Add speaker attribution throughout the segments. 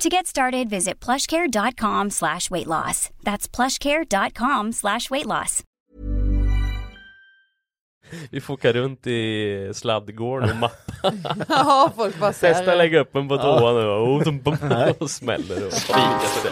Speaker 1: To get started, visit plushcare.com slash weight loss. That's plushcare.com slash weight loss.
Speaker 2: Vi får åka runt i sladdgården och mappa.
Speaker 3: Ja, folk bara så här-
Speaker 2: Testa lägga upp en på toan nu och, och, och, och smäller det och fika sig.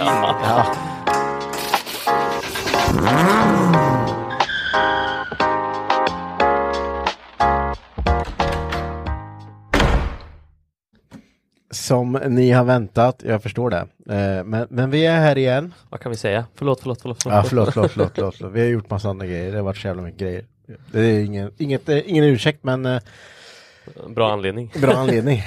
Speaker 4: Som ni har väntat, jag förstår det. Eh, Men, men vi är här igen.
Speaker 2: Vad kan vi säga? Förlåt, förlåt, förlåt.
Speaker 4: Ja, förlåt, förlåt, förlåt, förlåt, förlåt. Vi har gjort massa andra grejer. Det har varit så jävla mycket grejer. Det är ingen, inget, eh, ingen ursäkt, men eh,
Speaker 2: Bra anledning.
Speaker 4: bra anledning.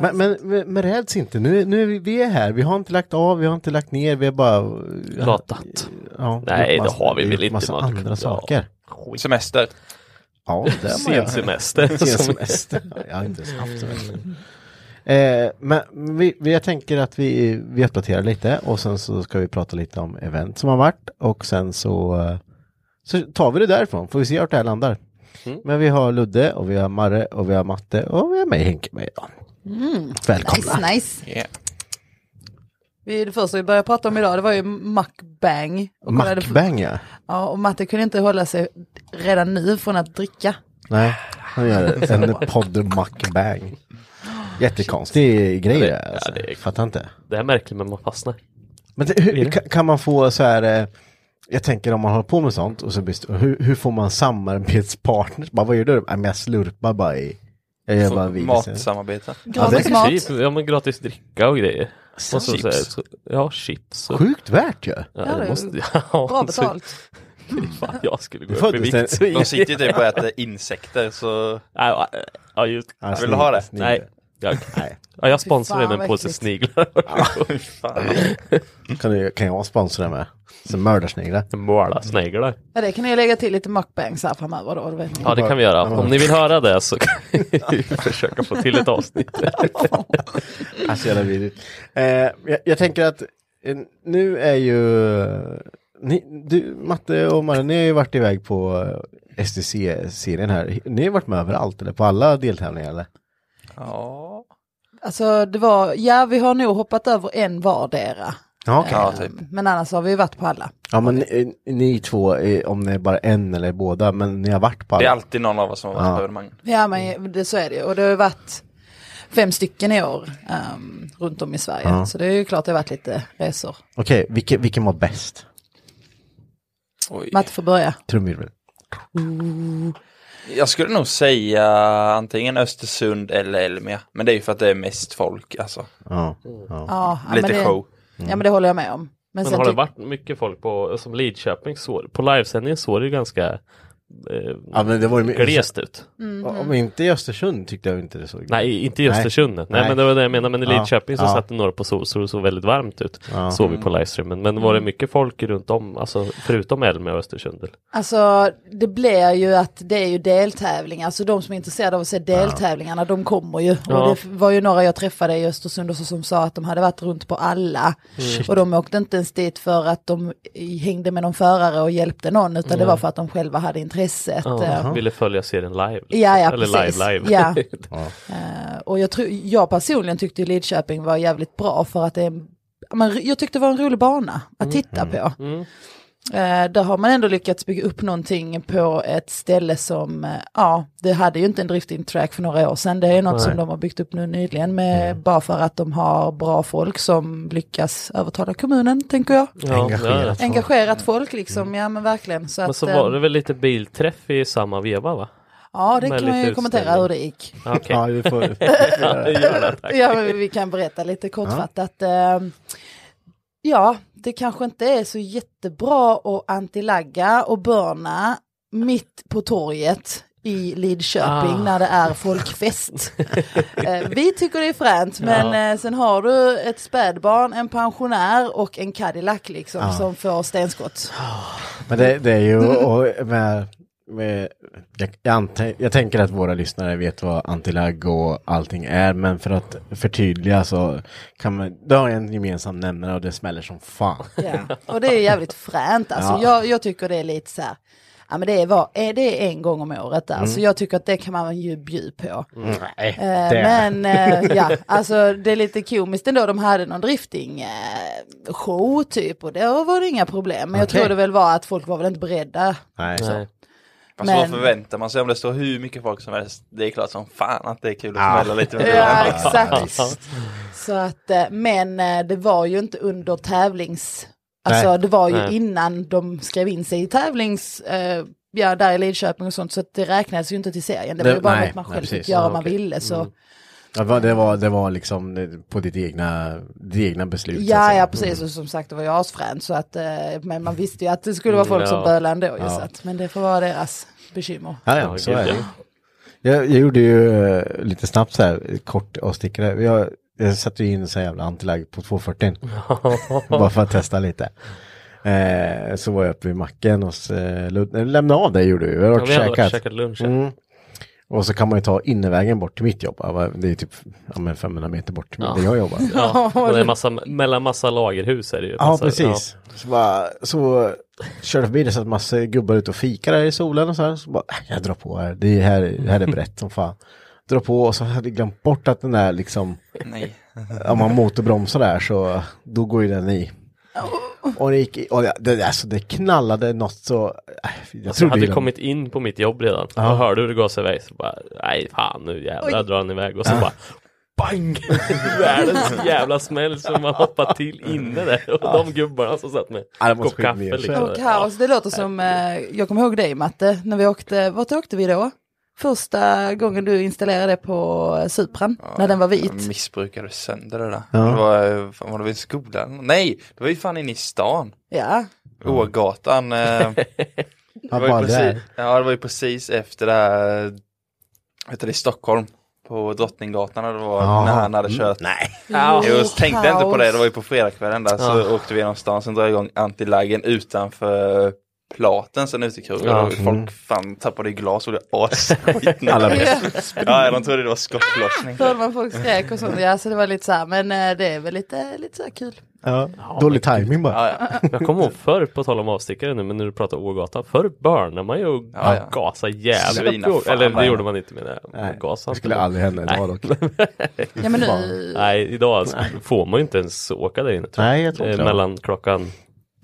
Speaker 4: Men, men, men men räds inte, nu, nu är vi, vi är här. Vi har inte lagt av, vi har inte lagt ner, vi har bara... eh,
Speaker 2: Latat.
Speaker 4: Ja,
Speaker 2: Nej,
Speaker 4: gjort
Speaker 2: det har vi
Speaker 4: gjort
Speaker 2: väl inte,
Speaker 4: massa
Speaker 2: Martin.
Speaker 4: andra
Speaker 2: Ja.
Speaker 4: saker.
Speaker 5: Semester.
Speaker 4: Ja, det har man
Speaker 2: Sen
Speaker 4: gjort.
Speaker 2: semester.
Speaker 4: Sen semester. Jag har inte ens haft semester. Eh, men vi, vi, jag tänker att vi, vi uppdaterar lite och sen så ska vi prata lite om event som har varit och sen så, eh, så tar vi det därifrån, får vi se vart det här landar.
Speaker 2: Mm.
Speaker 4: Men vi har Ludde och vi har Marre och vi har Matte och vi har mig Henke med idag. Välkomna!
Speaker 3: Nice, nice.
Speaker 5: Yeah.
Speaker 3: Vi, det första vi började prata om idag det var ju mukbang. Och kollade-
Speaker 4: Macbang ja.
Speaker 3: Ja, och Matte kunde inte hålla sig redan nu från att dricka.
Speaker 4: Nej, han gör en podd Macbang. Jättekonstig grej det här, alltså.
Speaker 2: Ja, det är-
Speaker 4: Fattar inte.
Speaker 2: Det är märkligt men man fastnar.
Speaker 4: Men det, hur, ka- kan man få så här, eh, jag tänker om man håller på med sånt, och så best, hur, hur får man samarbetspartners? Bara, vad gör du? Nej, men jag slurpar bara i, jag gör bara en video. sen.
Speaker 5: Matsamarbete.
Speaker 4: Ja, det
Speaker 3: Gratis
Speaker 4: är
Speaker 3: mat.
Speaker 2: Typ, ja men gratis dricka och grejer. Och så,
Speaker 5: Chips.
Speaker 2: så här, så, ja, chips. Och,
Speaker 4: Sjukt värt ju.
Speaker 2: ja,
Speaker 3: det är
Speaker 2: ja,
Speaker 3: Bra
Speaker 2: så-
Speaker 3: betalt.
Speaker 2: Fan, jag skulle gå
Speaker 4: Det
Speaker 2: upp i
Speaker 4: föddes en-
Speaker 2: vikt. så ingen-
Speaker 5: De sitter ju typ och äter insekter så
Speaker 2: Ja, ja, Ja, just
Speaker 4: Ja,
Speaker 5: Vill du ha det?
Speaker 4: snygg.
Speaker 2: Nej. Jag,
Speaker 4: Alltså, Nej.
Speaker 2: ja, jag sponsrar
Speaker 3: Fy
Speaker 2: det
Speaker 3: fan,
Speaker 2: med en
Speaker 3: vad
Speaker 2: påse
Speaker 3: äckligt.
Speaker 2: sniglar.
Speaker 4: Kan, du, kan jag sponsra det med? Som mördarsniglar.
Speaker 2: Måla sniglar.
Speaker 3: Ja, det kan ni lägga till lite mukbangs här framöver då. Det vet ni.
Speaker 2: Ja, det kan vi göra. Om ni vill höra det så kan vi försöka få till ett avsnitt.
Speaker 4: Alltså jävla vidrigt. Eh, jag, jag tänker att eh, nu är ju, eh, ni, du Matte och Mara, ni har ju varit iväg på eh, STC-serien här. Ni har varit med överallt eller på alla deltävlingar eller?
Speaker 5: ja.
Speaker 3: Alltså det var, ja vi har nog hoppat över en vardera.
Speaker 4: Ja, okej.
Speaker 5: ja, typ.
Speaker 3: Men annars har vi varit på alla.
Speaker 4: Ja men ni, ni två, eh, om det är bara en eller båda, men ni har varit på alla.
Speaker 5: Det är alltid någon av oss som har varit
Speaker 4: Ja.
Speaker 5: på evenemang.
Speaker 3: Ja men det, så är det ju. Och det har ju varit fem stycken i år ehm, runt om i Sverige.
Speaker 4: Ja.
Speaker 3: Så det är ju klart det har varit lite resor.
Speaker 4: Okej, vilken, vilken var bäst?
Speaker 5: Oj.
Speaker 3: Matte får börja.
Speaker 4: Trumvirvel.
Speaker 5: Jag skulle nog säga antingen Östersund eller Elmia. Men det är ju för att det är mest folk alltså.
Speaker 4: Ja.
Speaker 3: Mm. Ja, ja,
Speaker 5: Lite
Speaker 3: men det,
Speaker 5: show.
Speaker 3: Ja men det håller jag med om. Men,
Speaker 2: Mm. Men
Speaker 3: sen
Speaker 2: har det
Speaker 3: tyck-
Speaker 2: varit mycket folk på, som Lidköping så, på livesändningen såg det ju ganska eh,
Speaker 4: Ja, men det var ju mycket-
Speaker 2: glest ut.
Speaker 3: Mm. Mm-hmm.
Speaker 4: Om inte i Östersund tyckte jag inte det såg
Speaker 2: Nej, inte i Östersund. Nej.
Speaker 4: Nej.
Speaker 2: men det var det jag menade. Men i
Speaker 4: Ja.
Speaker 2: Lidköping så
Speaker 4: Ja.
Speaker 2: satt det några på sol, så det såg väldigt varmt ut.
Speaker 4: Ja.
Speaker 2: Såg vi
Speaker 3: Mm.
Speaker 2: på livestreamen. Men var det mycket folk runt om, alltså förutom Elmia och Östersund? eller?
Speaker 3: Alltså det blir ju att det är ju deltävlingar, så de som är intresserade av att se deltävlingarna de kommer ju.
Speaker 2: Ja.
Speaker 3: Och det var ju några jag träffade i Östersund också som sa att de hade varit runt på alla. Och de åkte inte ens dit för att de hängde med någon förare och hjälpte någon utan det var för att de själva hade intresset. eh,
Speaker 2: Ja, ville följa serien live. liksom.
Speaker 3: Ja, ja,
Speaker 2: Eller
Speaker 3: precis.
Speaker 2: live, live.
Speaker 3: Ja. Eh, och jag, tror, jag personligen tyckte ju Lidköping var jävligt bra för att det är en, ja, men jag tyckte det var en rolig bana
Speaker 2: Mm.
Speaker 3: att titta på. Eh, där har man ändå lyckats bygga upp någonting på ett ställe som, eh, ja, det hade ju inte en drifting track för några år sedan. Det är något som de har byggt upp nu nyligen, med,
Speaker 2: Mm.
Speaker 3: bara för att de har bra folk som lyckas övertala kommunen, tänker jag.
Speaker 2: Ja, ja. Mm.
Speaker 4: Engagerat.
Speaker 3: Engagerat folk liksom, ja men verkligen. Så
Speaker 2: Men
Speaker 3: att,
Speaker 2: så
Speaker 3: eh,
Speaker 2: var det väl lite bilträff i samma veva va?
Speaker 3: ja, det
Speaker 2: med
Speaker 3: kan man
Speaker 2: lite
Speaker 3: ju kommentera
Speaker 2: utställning.
Speaker 3: hur det gick.
Speaker 2: Ja, Okej.
Speaker 4: Ja, vi får...
Speaker 3: Ja, men vi kan berätta lite kortfattat. Ja. ja, det kanske inte är så jättebra att antilagga och börna mitt på torget i Lidköping
Speaker 2: Ah.
Speaker 3: när det är folkfest. Eh, vi tycker det är fränt, men eh, sen har du ett spädbarn, en pensionär och en Cadillac liksom som får stenskott.
Speaker 4: Men det, det är ju och med, med, jag, jag, ante, jag tänker att våra lyssnare vet vad antilagg och allting är, men för att förtydliga så kan man, det har en gemensam nämnare och det smäller som fan.
Speaker 3: Ja. Och det är jävligt fränt. Alltså,
Speaker 4: Ja.
Speaker 3: jag, jag tycker det är lite så här, ja, men det, är var, eh, det är en gång om året där, så jag tycker att det kan man ju bjuda på.
Speaker 4: Nej,
Speaker 3: Eh,
Speaker 4: det-
Speaker 3: Men eh, ja, alltså det är lite komiskt ändå. De hade någon drifting eh, show typ och då var det inga problem. Men jag
Speaker 4: Okej.
Speaker 3: tror det väl var att folk var väl inte beredda.
Speaker 4: Nej.
Speaker 2: Nej.
Speaker 5: Fast vad
Speaker 3: Men-
Speaker 5: förväntar man sig om det står hur mycket folk som helst? Det är klart som fan att det är kul att
Speaker 4: Ja.
Speaker 5: smälla lite med
Speaker 3: Ja,
Speaker 5: bilen.
Speaker 3: exakt. Så att, eh, men eh, det var ju inte under tävlings... Alltså
Speaker 4: Nej.
Speaker 3: det var ju
Speaker 2: Nej.
Speaker 3: innan de skrev in sig i tävlings... Eh, ja, där i Lidköping och sånt. Så att det räknades ju inte till serien. Det var
Speaker 4: Det-
Speaker 3: ju bara
Speaker 4: nej,
Speaker 3: något man
Speaker 4: nej,
Speaker 3: själv
Speaker 4: precis.
Speaker 3: fick göra
Speaker 4: Ja,
Speaker 3: om man
Speaker 4: okej. Mm.
Speaker 3: ville. Så.
Speaker 4: Det var, det var, det var liksom det- på ditt egna, ditt egna beslut. så att
Speaker 3: Ja,
Speaker 4: säga. Mm.
Speaker 3: ja, precis. Och som sagt, det var ju asfränt. Så att, eh, men man visste ju att det skulle vara folk som
Speaker 2: Ja.
Speaker 3: bölade ändå. Ju,
Speaker 4: Ja.
Speaker 3: så att, men det får vara deras bekymmer.
Speaker 4: Ja,
Speaker 2: Ja,
Speaker 4: ja, så
Speaker 2: gud,
Speaker 4: är det.
Speaker 2: ja.
Speaker 4: Jag, jag gjorde ju eh, lite snabbt så här, eh, kort och stickade. Jag, jag satte ju in så här jävla antilag på 240. Bara för att testa lite. Eh, så var jag uppe vid macken och så, eh, Lud- eh, lämnade av dig gjorde vi. Vi har
Speaker 2: Ja,
Speaker 4: varit
Speaker 2: vi hade
Speaker 4: och
Speaker 2: varit
Speaker 4: käkat.
Speaker 2: käkat lunch. ja.
Speaker 4: Mm. Och så kan man ju ta innervägen bort till mitt jobb. Ja, vad- Det är typ ja, men 500 meter bort till där jag jobbar.
Speaker 2: Ja, men det är massa, mellan massa lagerhus är det ju.
Speaker 4: Ja,
Speaker 2: Massa-
Speaker 4: precis. Så, bara, så körde förbi det så att massa gubbar ute och fikar här i solen och så här. Så bara, "Äh, jag drar på här. Det här, det här är brett som fan. Drar på och så hade jag glömt bort att den där liksom,
Speaker 5: Nej.
Speaker 4: om man motorbromsar där så då går ju den i. Och det gick i, och det, det, alltså det knallade något så, äh, jag
Speaker 2: Alltså, jag
Speaker 4: trodde
Speaker 2: hade
Speaker 4: ju
Speaker 2: ju
Speaker 4: den-
Speaker 2: kommit in på mitt jobb redan. Då hörde hur det gasade iväg. Så bara, nej fan nu jävlar drar han iväg. Och så bara, bang! Världens jävla smäll så man hoppar till inne där. Och de gubbarna som satt med
Speaker 4: Ja, det
Speaker 2: kopp
Speaker 4: måste skit
Speaker 2: kaffe.
Speaker 4: ner sig.
Speaker 2: Liksom.
Speaker 3: Och kaos, det låter som, eh, jag kommer ihåg dig Matte, när vi åkte, vart åkte vi då? Första gången du installerade på eh, Supran, när den var
Speaker 5: Jag
Speaker 3: vit.
Speaker 5: missbrukade sönder det där. Det var, eh, fan, var det vid skolan? Nej, det var ju fan inne i stan.
Speaker 3: Ja,
Speaker 5: Ågatan. Eh,
Speaker 4: Ja,
Speaker 5: det var
Speaker 4: bara
Speaker 5: ju
Speaker 4: där.
Speaker 5: precis, ja, det var ju precis efter det här, eh, vet du, det, i Stockholm. På Drottninggatan och det var
Speaker 4: Ja.
Speaker 5: när han hade
Speaker 4: Mm,
Speaker 5: kört.
Speaker 4: Nej.
Speaker 2: Ja.
Speaker 3: Mm.
Speaker 5: Jo, jag tänkte inte på det, det var ju på fredagskvällen där så
Speaker 2: Ja.
Speaker 5: åkte vi genom stan, sen drog jag igång antilaggen utanför Platen sen ute i krogen
Speaker 2: Ja.
Speaker 5: och folk fan tappade i glas och det asskit
Speaker 4: Alla blev-
Speaker 5: Ja, de trodde det var skottlossning.
Speaker 3: hörde man folk skrek och sånt. Ja, så det var lite så här, men eh, det är väl lite, lite så här kul.
Speaker 4: Ja, dålig timing bara.
Speaker 5: Ja, ja.
Speaker 2: Jag kommer ihåg förr, på tal om avstickare nu, men när du pratar Ågatan. Förr börnade man ju och
Speaker 5: Ja, ja.
Speaker 2: gasade jävligt.
Speaker 5: Svina
Speaker 2: upp i Å-
Speaker 5: fan,
Speaker 2: Eller det
Speaker 5: vad
Speaker 2: gjorde
Speaker 5: jag-
Speaker 2: man inte menar jag.
Speaker 4: Nej,
Speaker 2: Man gasade
Speaker 4: det
Speaker 2: inte.
Speaker 4: skulle aldrig hända idag dock.
Speaker 3: Ja, men nu,
Speaker 2: Nej, idag alltså, får man ju inte ens åka där inne. Tror
Speaker 4: Nej, jag tror
Speaker 2: Eh,
Speaker 4: inte det.
Speaker 2: Mellan klockan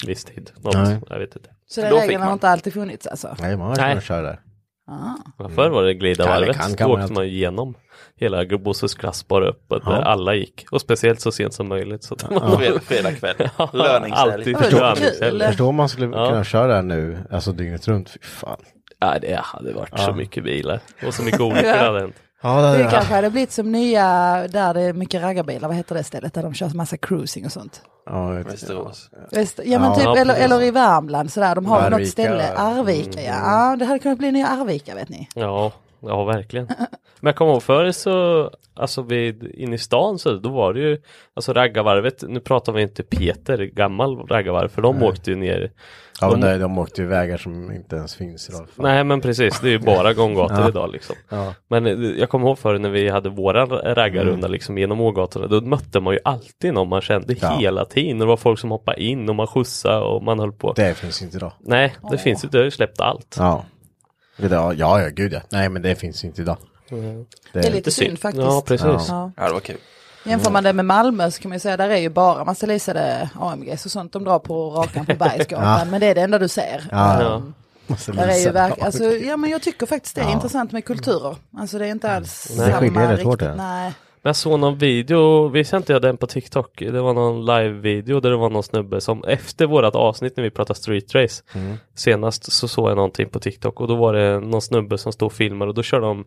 Speaker 2: viss tid. Något.
Speaker 4: Nej.
Speaker 2: Jag vet inte.
Speaker 3: så den
Speaker 5: Då fick
Speaker 3: regeln har
Speaker 5: man.
Speaker 3: inte alltid funnits alltså. Ah.
Speaker 4: Nej, man har
Speaker 2: Nej.
Speaker 4: kunnat köra där.
Speaker 2: Ja, Förr var det glidarvarvet,
Speaker 4: Kan- kan- kan
Speaker 2: då
Speaker 4: man
Speaker 2: åkte
Speaker 4: alltid.
Speaker 2: man igenom hela Bosses glass bara uppåt där
Speaker 4: Ja.
Speaker 2: alla gick. Och speciellt så sent som möjligt. Så att man
Speaker 5: Fred- Fredagkväll,
Speaker 2: alltid
Speaker 5: löningshelg.
Speaker 3: Förstår-
Speaker 2: löningshelg.
Speaker 3: Eller-
Speaker 4: Förstår om man skulle
Speaker 2: Ja.
Speaker 4: kunna köra där nu, alltså dygnet runt, fy fan.
Speaker 2: Ja, det hade varit så mycket bilar och så mycket olyckor hade hänt.
Speaker 4: Ja, det,
Speaker 3: Det
Speaker 4: det,
Speaker 3: kanske hade blivit som nya, där det är mycket raggarbilar, vad heter det stället, där de kör massa cruising och sånt.
Speaker 4: ja, jag vet inte.
Speaker 5: Västerås.
Speaker 3: Väst- Ja men
Speaker 4: Ja,
Speaker 3: typ,
Speaker 2: precis.
Speaker 3: eller, eller i Värmland sådär, de har väl något
Speaker 4: Arvika.
Speaker 3: ställe, Arvika
Speaker 4: Mm.
Speaker 3: ja. ja, det hade kunnat bli nya Arvika vet ni.
Speaker 2: Ja, ja verkligen. Men jag kommer ihåg förr så, alltså vid, inne i stan så, då var det ju, alltså raggarvarvet, nu pratar vi inte Peter, gammal raggarvarv, för de åkte ju ner.
Speaker 4: Ja, men
Speaker 2: de,
Speaker 4: nej, de åkte ju vägar som inte ens finns idag. Fan.
Speaker 2: nej men precis, det är ju bara gånggator
Speaker 4: Ja.
Speaker 2: idag liksom.
Speaker 4: Ja. Mm.
Speaker 2: Men eh, jag kommer ihåg förr när vi hade våra raggarrunda liksom genom ågatorna, då mötte man ju alltid någon man kände
Speaker 4: Ja.
Speaker 2: hela tiden. Det var folk som hoppade in och man skjutsade och man höll på.
Speaker 4: Det finns inte idag.
Speaker 2: Nej, det finns ju, det har ju släppt allt.
Speaker 4: Ja. Idag, ja, ja, gud ja. Nej, men det finns inte idag. Mm.
Speaker 3: Det är lite synd, faktiskt.
Speaker 2: Ja, precis.
Speaker 3: Ja.
Speaker 5: Ja, det var kul.
Speaker 3: Jämför man det med Malmö så kan man ju säga där är ju bara massa leasade AMGs och sånt de drar på rakan på Bergsgatan. Men det är det enda du ser.
Speaker 4: Ja.
Speaker 2: Ja.
Speaker 4: Måste
Speaker 3: Där är ju
Speaker 4: visa.
Speaker 3: verk- alltså, ja, men jag tycker faktiskt det är intressant med kulturer. Alltså det är inte alls
Speaker 4: Mm. Nej. Det skiljer
Speaker 3: samma
Speaker 4: rätt hårt,
Speaker 3: riktigt-
Speaker 4: ja.
Speaker 3: Nej.
Speaker 2: Men jag såg någon video, visst inte jag den på TikTok? Det var någon live-video där det var någon snubbe som efter vårat avsnitt när vi pratade street race
Speaker 4: Mm.
Speaker 2: senast så såg jag någonting på TikTok och då var det någon snubbe som stod och filmade och då körde de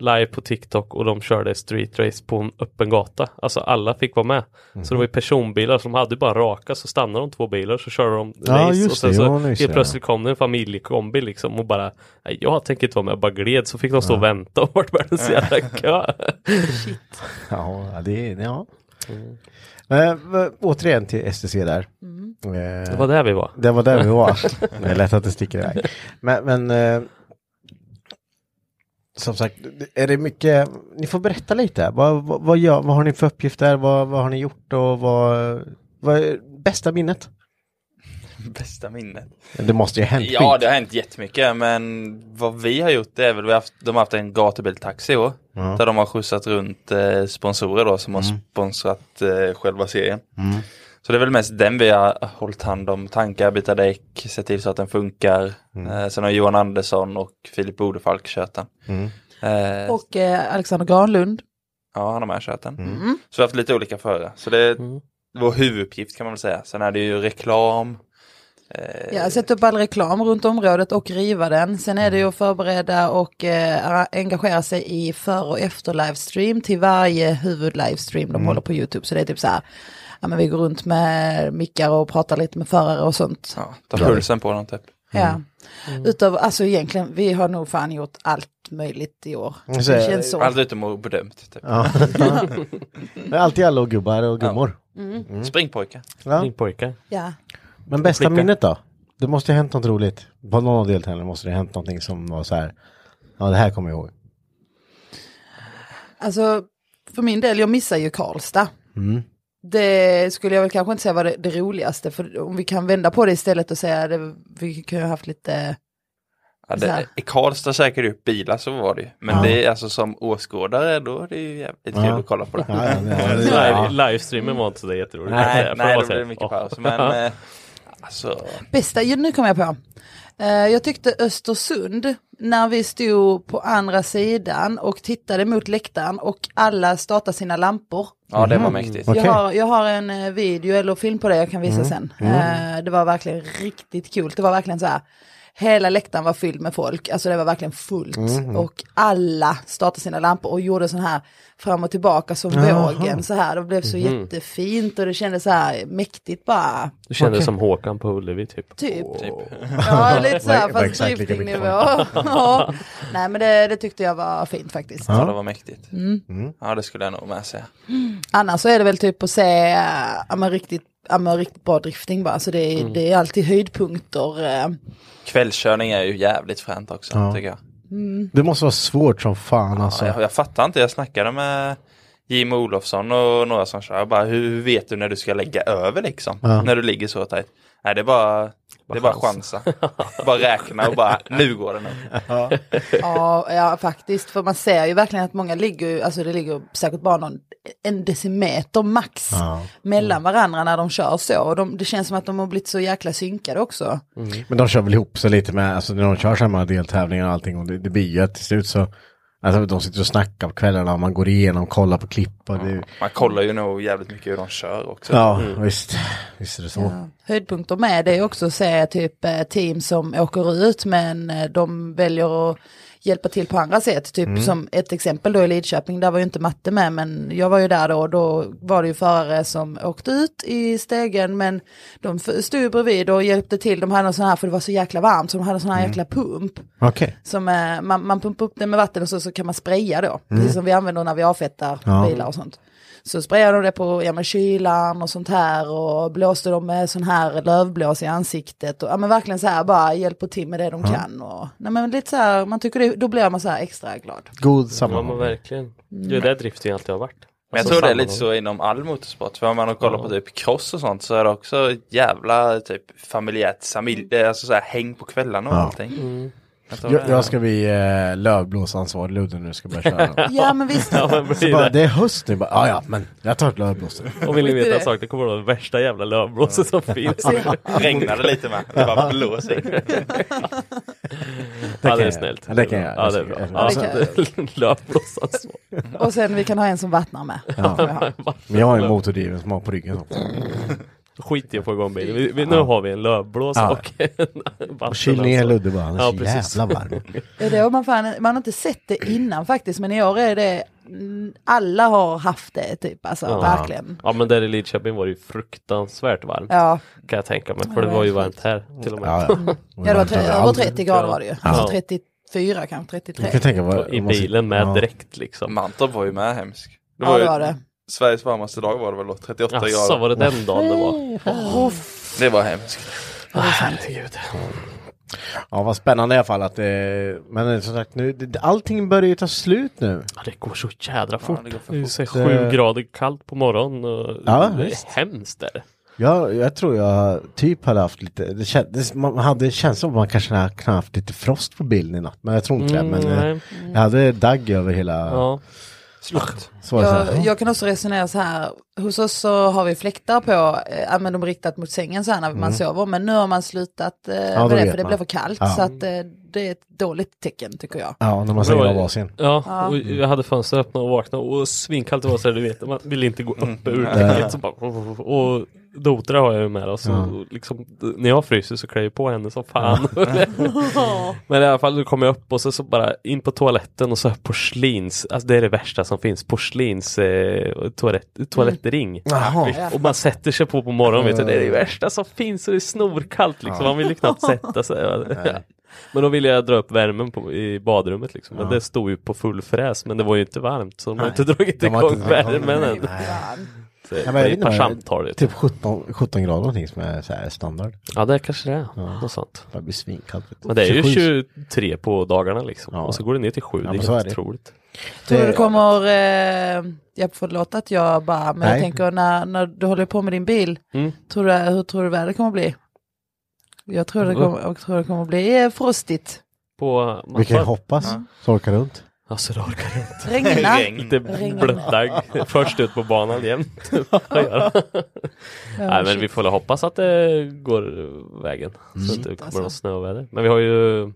Speaker 2: live på TikTok och de körde street race på en öppen gata. Alltså alla fick vara med.
Speaker 4: Mm-hmm.
Speaker 2: Så det var ju personbilar som hade bara raka så stannade de två bilar så körde de
Speaker 4: Ja,
Speaker 2: race
Speaker 4: just
Speaker 2: och sen
Speaker 4: det.
Speaker 2: så
Speaker 4: Ja, just
Speaker 2: helt
Speaker 4: det.
Speaker 2: plötsligt kom det en familjekombi liksom och bara "Nej, jag tänker inte vara med, jag bara gled så fick de stå och vänta och vart världens jävla kö.
Speaker 4: Ja, det är... Ja. Mm. Men, v- återigen till STC där.
Speaker 3: Mm.
Speaker 4: Eh,
Speaker 2: Det var där vi var.
Speaker 4: Det var där vi var. Det är lätt att det sticker iväg. Men, men eh, som sagt, är det mycket, ni får berätta lite. Vad, vad, vad, gör, vad har ni för uppgifter? Vad, vad har ni gjort och vad, vad är bästa minnet?
Speaker 5: Bästa minnet.
Speaker 4: Det måste ju ha hänt
Speaker 5: Ja,
Speaker 4: skit.
Speaker 5: det har hänt jättemycket, men vad vi har gjort det är väl, vi har haft, de har haft en gatubiltaxi i år. Där de har skjutsat runt eh, sponsorer då som
Speaker 4: Mm.
Speaker 5: har sponsrat eh, själva serien. Så det är väl mest den vi har hållit hand om, tankar, byta däck, se till så att den funkar.
Speaker 4: Mm.
Speaker 5: Eh, sen har Johan Andersson och Filip Odefalk kört den.
Speaker 4: Mm.
Speaker 5: Eh,
Speaker 3: Och eh, Alexander Granlund.
Speaker 5: Ja, han har med kört den.
Speaker 4: Mm.
Speaker 3: Mm.
Speaker 5: Så vi har haft lite olika förare. Så det är vår huvuduppgift kan man väl säga. Sen är det ju reklam. Eh,
Speaker 3: Ja, alltså- sätta upp all reklam runt området och riva den. Sen är det ju att förbereda och eh, ara- engagera sig i för och efter livestream till varje huvudlivestream de håller på YouTube. Så det är typ så här, ja men vi går runt med mickar och pratar lite med förare och sånt.
Speaker 5: Ja, ta pulsen på dem typ.
Speaker 3: Ja. Utav, alltså egentligen, vi har nog fan gjort allt möjligt i år. Det
Speaker 4: Så-
Speaker 3: känns så.
Speaker 5: Allt utom och bedömt. Typ.
Speaker 4: Ja. Men Alltid alla och gubbar och gummor.
Speaker 5: Mm. Springpojkar.
Speaker 4: Ja.
Speaker 2: Min pojke.
Speaker 3: Ja.
Speaker 4: Men bästa
Speaker 2: Flicka.
Speaker 4: minnet då? Det måste ju ha hänt något roligt. På någon av deltävlingarna måste det ha hänt någonting som var så här. Ja, det här kommer jag ihåg.
Speaker 3: Alltså, för min del, jag missar ju Karlstad.
Speaker 4: Mm.
Speaker 3: Det skulle jag väl kanske inte säga var det, det roligaste, för om vi kan vända på det istället och säga det, vi kan ju ha haft lite,
Speaker 5: Ja,
Speaker 3: Så
Speaker 5: det,
Speaker 3: här.
Speaker 5: I Karlstad käkade du upp bilar, så var det ju. Men
Speaker 4: Ja.
Speaker 5: det är alltså som åskådare, då är det ju jävligt
Speaker 4: Ja.
Speaker 5: kul att kolla på det.
Speaker 4: Ja, ja, ja, det-
Speaker 2: Live,
Speaker 4: ja.
Speaker 2: livestreamen var inte så där jätterolig. kan jag säga,
Speaker 5: Nej,
Speaker 2: för
Speaker 5: nej,
Speaker 2: var
Speaker 5: det
Speaker 2: så här,
Speaker 5: blir mycket
Speaker 2: åh.
Speaker 5: paus. Men eh, alltså,
Speaker 3: bästa, jo, nu kom jag på. Eh, jag tyckte Östersund, när vi stod på andra sidan och tittade mot läktaren och alla startade sina lampor.
Speaker 5: ja det var mäktigt.
Speaker 4: Okej.
Speaker 3: Jag, har, jag har en eh, video eller film på det jag kan visa sen. Eh, det var verkligen riktigt kul. Det var verkligen så här. Hela läktaren var fylld med folk, alltså det var verkligen fullt. Och alla startade sina lampor och gjorde sån här fram och tillbaka som vågen så här. Det blev så jättefint och det kändes så här mäktigt bara.
Speaker 2: Du kände som Håkan på Ullevi typ.
Speaker 3: Typ. Ja, lite så här,
Speaker 4: Det var
Speaker 3: fast
Speaker 4: exakt lika
Speaker 3: driftingnivå.
Speaker 4: mycket
Speaker 3: ja. Nej men det, det tyckte jag var fint faktiskt.
Speaker 5: Ja, det var mäktigt.
Speaker 4: Mm.
Speaker 5: Ja, det skulle jag nog med säga.
Speaker 3: Annars så är det väl typ att se äh, ja, men riktigt, ja, men riktigt bra drifting bara. Så det är, det är alltid höjdpunkter. eh.
Speaker 5: Kvällskörning är ju jävligt fränt också,
Speaker 4: Ja.
Speaker 5: tycker jag.
Speaker 4: Det måste vara svårt som fan alltså.
Speaker 5: Ja, jag, jag fattar inte, jag snackade med Jim Olofsson och några som kör, jag bara hur vet du när du ska lägga över liksom?
Speaker 4: Ja.
Speaker 5: När du ligger så tajt? Nej, det är bara, det är bara chansa. bara räkna och bara, nu går det nog.
Speaker 3: Ja, ja, faktiskt. För man ser ju verkligen att många ligger, ju- alltså det ligger säkert bara någon, en decimeter max
Speaker 4: Ja.
Speaker 3: mellan varandra när de kör så. Och de, det känns som att de har blivit så jäkla synkade också.
Speaker 2: Mm.
Speaker 4: Men de kör väl ihop sig lite med, alltså när de kör samma deltävlingar och allting och det, det blir ju att till slut så, alltså de sitter och snackar på kvällarna och man går igenom, kollar på klipp och det,
Speaker 2: typ.
Speaker 5: Man kollar ju nog jävligt mycket hur de kör också.
Speaker 4: ja
Speaker 2: Mm.
Speaker 4: visst, visst är det så.
Speaker 3: Höjdpunkter med det är också att se typ eh, team som åker ut men eh, de väljer att hjälpa till på andra sätt. Typ som ett exempel då i Lidköping, där var ju inte matte med men jag var ju där då och då var det ju förare som åkte ut i stegen men de f- stod ju bredvid och hjälpte till. De hade någon sån här, för det var så jäkla varmt, så de hade sån här jäkla pump.
Speaker 4: Okej.
Speaker 3: Som eh, man, man pumpar upp den med vatten och så, så kan man spraya då. Precis som vi använder när vi avfettar
Speaker 4: Ja.
Speaker 3: bilar och sånt. Så sprayade de det på ja, men kylan och sånt här och blåste de med sån här lövblås i ansiktet. Och, ja, men verkligen så här bara hjälper till med det de kan. Och, nej, men lite så här, man tycker det, då blir man så här extra glad.
Speaker 4: God
Speaker 2: Ja men
Speaker 4: sammanhållning.
Speaker 2: verkligen. Det är där drifting alltid har varit.
Speaker 5: Men jag
Speaker 2: Alltså,
Speaker 5: tror det är
Speaker 2: sammanhåll-
Speaker 5: lite så inom all motorsport. För om man kollar på typ cross och sånt så är det också ett jävla typ familjärt samil, eh, alltså så här, häng på kvällarna och
Speaker 4: Ja.
Speaker 5: allting.
Speaker 3: Mm.
Speaker 5: Jag tror
Speaker 4: Jag,
Speaker 5: det är-
Speaker 4: jag ska bli eh, lövblåsansvarig Ludde nu ska börja köra.
Speaker 3: Ja men visst.
Speaker 2: Ja, men
Speaker 4: Så
Speaker 2: blir
Speaker 4: bara,
Speaker 2: det.
Speaker 4: det är höst nu bara, ja ja men jag tar ett lövblås.
Speaker 2: Och vill ni
Speaker 3: Skit i
Speaker 2: veta en
Speaker 3: det.
Speaker 2: sak, det kommer vara den värsta jävla lövblåset som finns.
Speaker 5: regnade lite med. Det bara blåser.
Speaker 2: Ja
Speaker 4: kan
Speaker 2: det är
Speaker 4: jag.
Speaker 2: snällt.
Speaker 4: Ja, det kan jag.
Speaker 2: Ja det är bra.
Speaker 4: Ja,
Speaker 3: det kan jag.
Speaker 2: Alltså, Lövblåsansvar.
Speaker 3: Och sen vi kan ha en som vattnar med. Det får vi ha.
Speaker 4: Men jag har ju motordriven som har på ryggen.
Speaker 2: Skit i att få igång bilen. Vi, vi, nu har vi en lövblås
Speaker 4: Ja.
Speaker 2: och en vatten.
Speaker 4: Och kyl ner Ludde bara, han är
Speaker 2: Ja,
Speaker 4: så
Speaker 2: precis.
Speaker 4: jävla varm.
Speaker 3: Ja, det har man, fan, man har inte sett det innan faktiskt men i år är det mm, alla har haft det typ alltså
Speaker 2: Ja.
Speaker 3: verkligen.
Speaker 2: Ja men där i Lidköping var det ju fruktansvärt varmt.
Speaker 3: Ja.
Speaker 2: Kan jag tänka mig. För det var ju varmt här till och med.
Speaker 4: Ja, ja.
Speaker 3: Ja, det var tre, över 30 grader var det ju. Alltså
Speaker 2: Ja.
Speaker 3: 34 kanske,
Speaker 4: Jag kan
Speaker 3: 33.
Speaker 4: tänka vad,
Speaker 2: I
Speaker 4: om man sitter-
Speaker 2: bilen med
Speaker 4: ja.
Speaker 2: dräkt liksom.
Speaker 5: Mantorp var ju med hemsk. Det
Speaker 3: Ja
Speaker 5: var
Speaker 3: det
Speaker 5: ju
Speaker 3: var det.
Speaker 5: Sveriges varmaste dag var det väl då, 38
Speaker 2: Jaså
Speaker 5: grader.
Speaker 2: var det den dagen det var?
Speaker 5: Det var hemskt.
Speaker 2: Herregud.
Speaker 4: Ja vad spännande i alla fall att eh, Men som sagt nu, det, allting börjar ju ta slut nu.
Speaker 2: Ja, det går så jädra fort.
Speaker 5: det går för
Speaker 2: det är så här
Speaker 4: fort.
Speaker 2: sju
Speaker 4: Det-
Speaker 2: grader kallt på morgonen. Och
Speaker 4: Ja,
Speaker 2: det är
Speaker 4: visst.
Speaker 2: hemskt där.
Speaker 4: Jag, jag tror jag typ hade haft lite, det kändes, man hade känslan av att man kanske hade kunnat haft lite frost på bilen i natt. Men jag tror inte det. Men eh,
Speaker 2: Mm, nej.
Speaker 4: jag hade dagg över hela.
Speaker 2: Ja.
Speaker 5: Slott.
Speaker 4: Så var det så här,
Speaker 3: Jag, jag kan också resonera så här, hos oss så har vi fläktar på, eh, ja, men de är riktat mot sängen så här när man sover, men nu har man slutat eh, med
Speaker 4: Mm. då
Speaker 3: det
Speaker 4: vet
Speaker 3: för det
Speaker 4: man.
Speaker 3: blev för kallt.
Speaker 4: Ja.
Speaker 3: Så att, eh, det är ett dåligt tecken tycker jag.
Speaker 4: ja, när man
Speaker 2: Det
Speaker 4: säger
Speaker 2: var-
Speaker 4: av varsin.
Speaker 2: Ja, och jag hade fönstret öppna och vaknade och svinkallt det var så här, du vet, man vill inte gå upp ur täcket. så bara- Och Dotra har jag ju med då, så liksom, när jag fryser så klär jag på henne som fan. Men i alla fall, då kom jag upp och så, så bara in på toaletten och så porslins, alltså det är det värsta som finns, porslins eh, toalett, toalettring.
Speaker 4: Jaha.
Speaker 2: Och man sätter sig på på morgonen, vet du, det är det värsta som finns och det är snorkallt liksom. Man vill ju knappt sätta sig. Men då ville jag dra upp värmen på, i badrummet liksom. Men det stod ju på full fräs, men det var ju inte varmt så de har inte dragit
Speaker 4: De har
Speaker 2: igång
Speaker 4: inte dragit igång,
Speaker 2: värmen
Speaker 4: nej,
Speaker 2: än. Så
Speaker 4: Ja, men
Speaker 2: Det
Speaker 4: jag vet
Speaker 2: är ett
Speaker 4: inte vad-
Speaker 2: par samtal. vet du.
Speaker 4: Typ 17, 17 grader någonting som är så här standard.
Speaker 2: Ja det kanske det är, något sånt.
Speaker 4: Det blir svinkallt. vet du.
Speaker 2: Men det är ju
Speaker 4: 27.
Speaker 2: 23 på dagarna liksom.
Speaker 4: Ja.
Speaker 2: Och så går det ner till 7,
Speaker 4: Ja,
Speaker 2: det
Speaker 4: men
Speaker 2: är
Speaker 4: så
Speaker 2: helt
Speaker 4: är det.
Speaker 2: otroligt.
Speaker 3: Tror du det
Speaker 4: Det-
Speaker 3: kommer, eh, jag förlåt att jag bara, men
Speaker 4: Nej.
Speaker 3: jag tänker när, när du håller på med din bil,
Speaker 2: Mm.
Speaker 3: tror du, hur tror du vädret kommer bli? Jag tror det
Speaker 4: Mm.
Speaker 2: Va?
Speaker 3: kommer, jag tror det kommer bli eh, frostigt,
Speaker 2: På
Speaker 4: Vi kan ju
Speaker 2: mattan.
Speaker 4: hoppas. Så orkar runt.
Speaker 2: Alltså det orkar jag inte.
Speaker 3: regna.
Speaker 2: Lite blött dag. Först ut på banan jämt. Vad gör jag? Nej men vi får väl hoppas att det går vägen. Så
Speaker 4: Mm.
Speaker 2: att det inte kommer något snöväder. Men vi har ju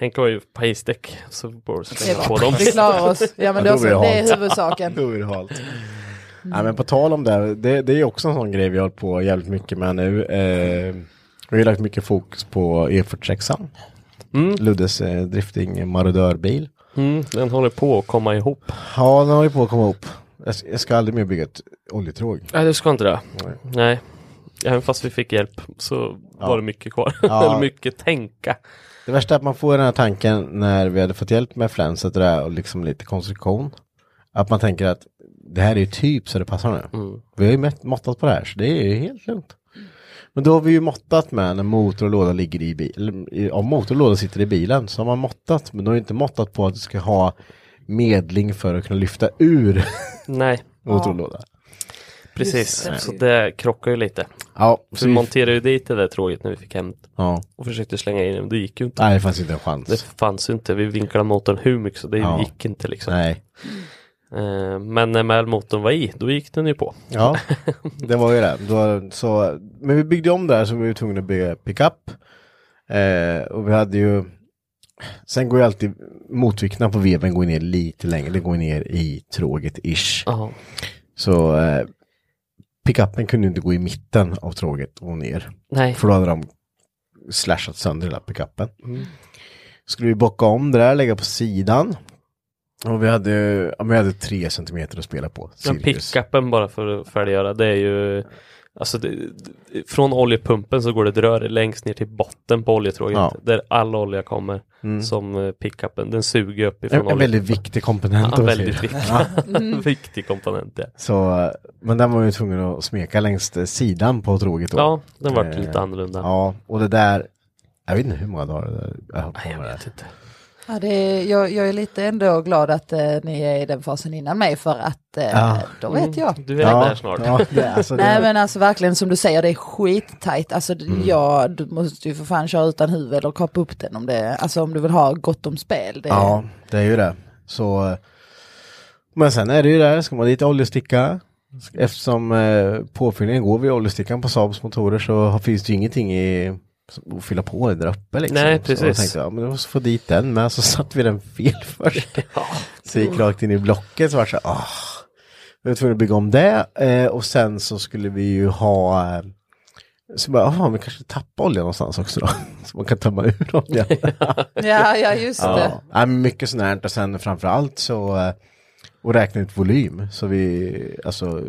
Speaker 2: Henke har ju pajsdäck så får vi slänga på dem.
Speaker 3: Vi klarar oss, ja men
Speaker 4: Ja,
Speaker 3: det,
Speaker 4: då
Speaker 3: är
Speaker 4: blir
Speaker 3: också,
Speaker 4: det
Speaker 3: det är
Speaker 4: halt.
Speaker 3: huvudsaken.
Speaker 2: typ.
Speaker 4: Urhalt. Nej men på tal om det, här, det, det är ju också en sån grej vi har hållit på jävligt mycket med nu. Eh, vi har ju lagt mycket fokus på E46an. Luddes eh, drifting marodörbil.
Speaker 2: Mm, den håller på att komma ihop.
Speaker 4: Ja, den håller på att komma upp. Jag, s- jag ska aldrig mer bygga ett oljetråg.
Speaker 2: Nej du ska inte det. Nej. Även fast vi fick hjälp så var det mycket kvar.
Speaker 4: Ja.
Speaker 2: Eller mycket tänka.
Speaker 4: Det värsta är att man får den här tanken när vi hade fått hjälp med flänset och det där och liksom lite konstruktion. Att man tänker att det här är ju typ så det passar nu. Vi har ju mätt, måttat på det här så det är ju helt lugnt. Men då har vi ju måttat med när motor och låda ligger i bilen. Om motor och låda sitter i bilen så har man måttat. Men då har ju inte måttat på att du ska ha medling för att kunna lyfta ur
Speaker 2: Nej
Speaker 4: motor och låda.
Speaker 2: precis. Så det krockar ju lite.
Speaker 4: Ja,
Speaker 2: Så
Speaker 4: så
Speaker 2: vi
Speaker 4: vi-
Speaker 2: monterade ju dit det där tråget när vi fick hem det
Speaker 4: ja.
Speaker 2: och försökte slänga in det men det gick ju inte.
Speaker 4: Nej, det fanns inte en chans.
Speaker 2: Det fanns ju inte. Vi vinklade motorn hur mycket så det
Speaker 4: Ja.
Speaker 2: gick inte liksom.
Speaker 4: Nej.
Speaker 2: Eh, Men när väl motorn var i, då gick den ju på.
Speaker 4: Ja, det var ju det. Då, så, men vi byggde om där så vi var tvungna att bygga pickup. Eh, och vi hade ju... Sen går ju alltid motvikterna på veven går ner lite längre. Det går ner i tråget ish.
Speaker 2: Ja.
Speaker 4: Så eh, pickupen kunde ju inte gå i mitten av tråget och ner.
Speaker 2: Nej.
Speaker 4: För då hade de slashat sönder hela pickupen. skulle vi bocka om det där, lägga på sidan. Och vi hade, ja, vi hade tre centimeter att spela på.
Speaker 2: Men
Speaker 4: cirkus.
Speaker 2: pickupen bara för att färdiggöra, det är ju Alltså det, det- från oljepumpen så går det ett rör längst ner till botten på oljetråget
Speaker 4: Ja.
Speaker 2: där all olja kommer
Speaker 4: Mm.
Speaker 2: som eh, pickupen. Den suger upp ifrån
Speaker 4: En, en väldigt viktig komponent.
Speaker 2: Ja,
Speaker 4: om man säger.
Speaker 2: väldigt viktig.
Speaker 4: Ja.
Speaker 3: Mm.
Speaker 2: viktig komponent. Ja,
Speaker 4: Så, eh, men den var ju tvungen att smeka längs eh, sidan på tråget då.
Speaker 2: ja den vart
Speaker 4: Eh,
Speaker 2: lite annorlunda.
Speaker 4: Ja, och det där, jag vet inte hur många dagar det där, jag höll på
Speaker 2: Nej, jag
Speaker 4: med det.
Speaker 2: vet inte.
Speaker 3: Ja, det är, jag, jag är lite ändå glad att eh, ni är i den fasen innan mig för att eh,
Speaker 4: Ja. Mm.
Speaker 3: då vet jag.
Speaker 2: Mm, Du vet det här snart.
Speaker 4: Ja, det, alltså, det,
Speaker 3: Nej men alltså verkligen som du säger, det är skittajt. Alltså d-
Speaker 4: Mm.
Speaker 3: ja, du måste ju för fan köra utan huvud eller kapa upp den om det, alltså om du vill ha gott om spel. Det,
Speaker 4: ja, det är ju det. Så, eh, men sen är det ju där, ska man dit oljesticka, eftersom eh, påfyllningen går vid oljestickan på Saabs motorer så har- finns det ju ingenting i som- att fylla på där uppe liksom.
Speaker 2: Nej,
Speaker 4: Så jag
Speaker 2: precis.
Speaker 4: tänkte, ja men då måste vi få dit den med, så satte vi den fel först. Så gick rakt in i blocket så var det så här, ah. Vi var tvungna att bygga om det eh, och sen så skulle vi ju ha eh, så bara, jaha, vi kanske tappar olja någonstans också då. Så man kan tömma ur oljan.
Speaker 3: ja, ja just det.
Speaker 4: ja. ja, men mycket sånt här och sen framförallt så eh, och räkna ut volym. Så vi, alltså,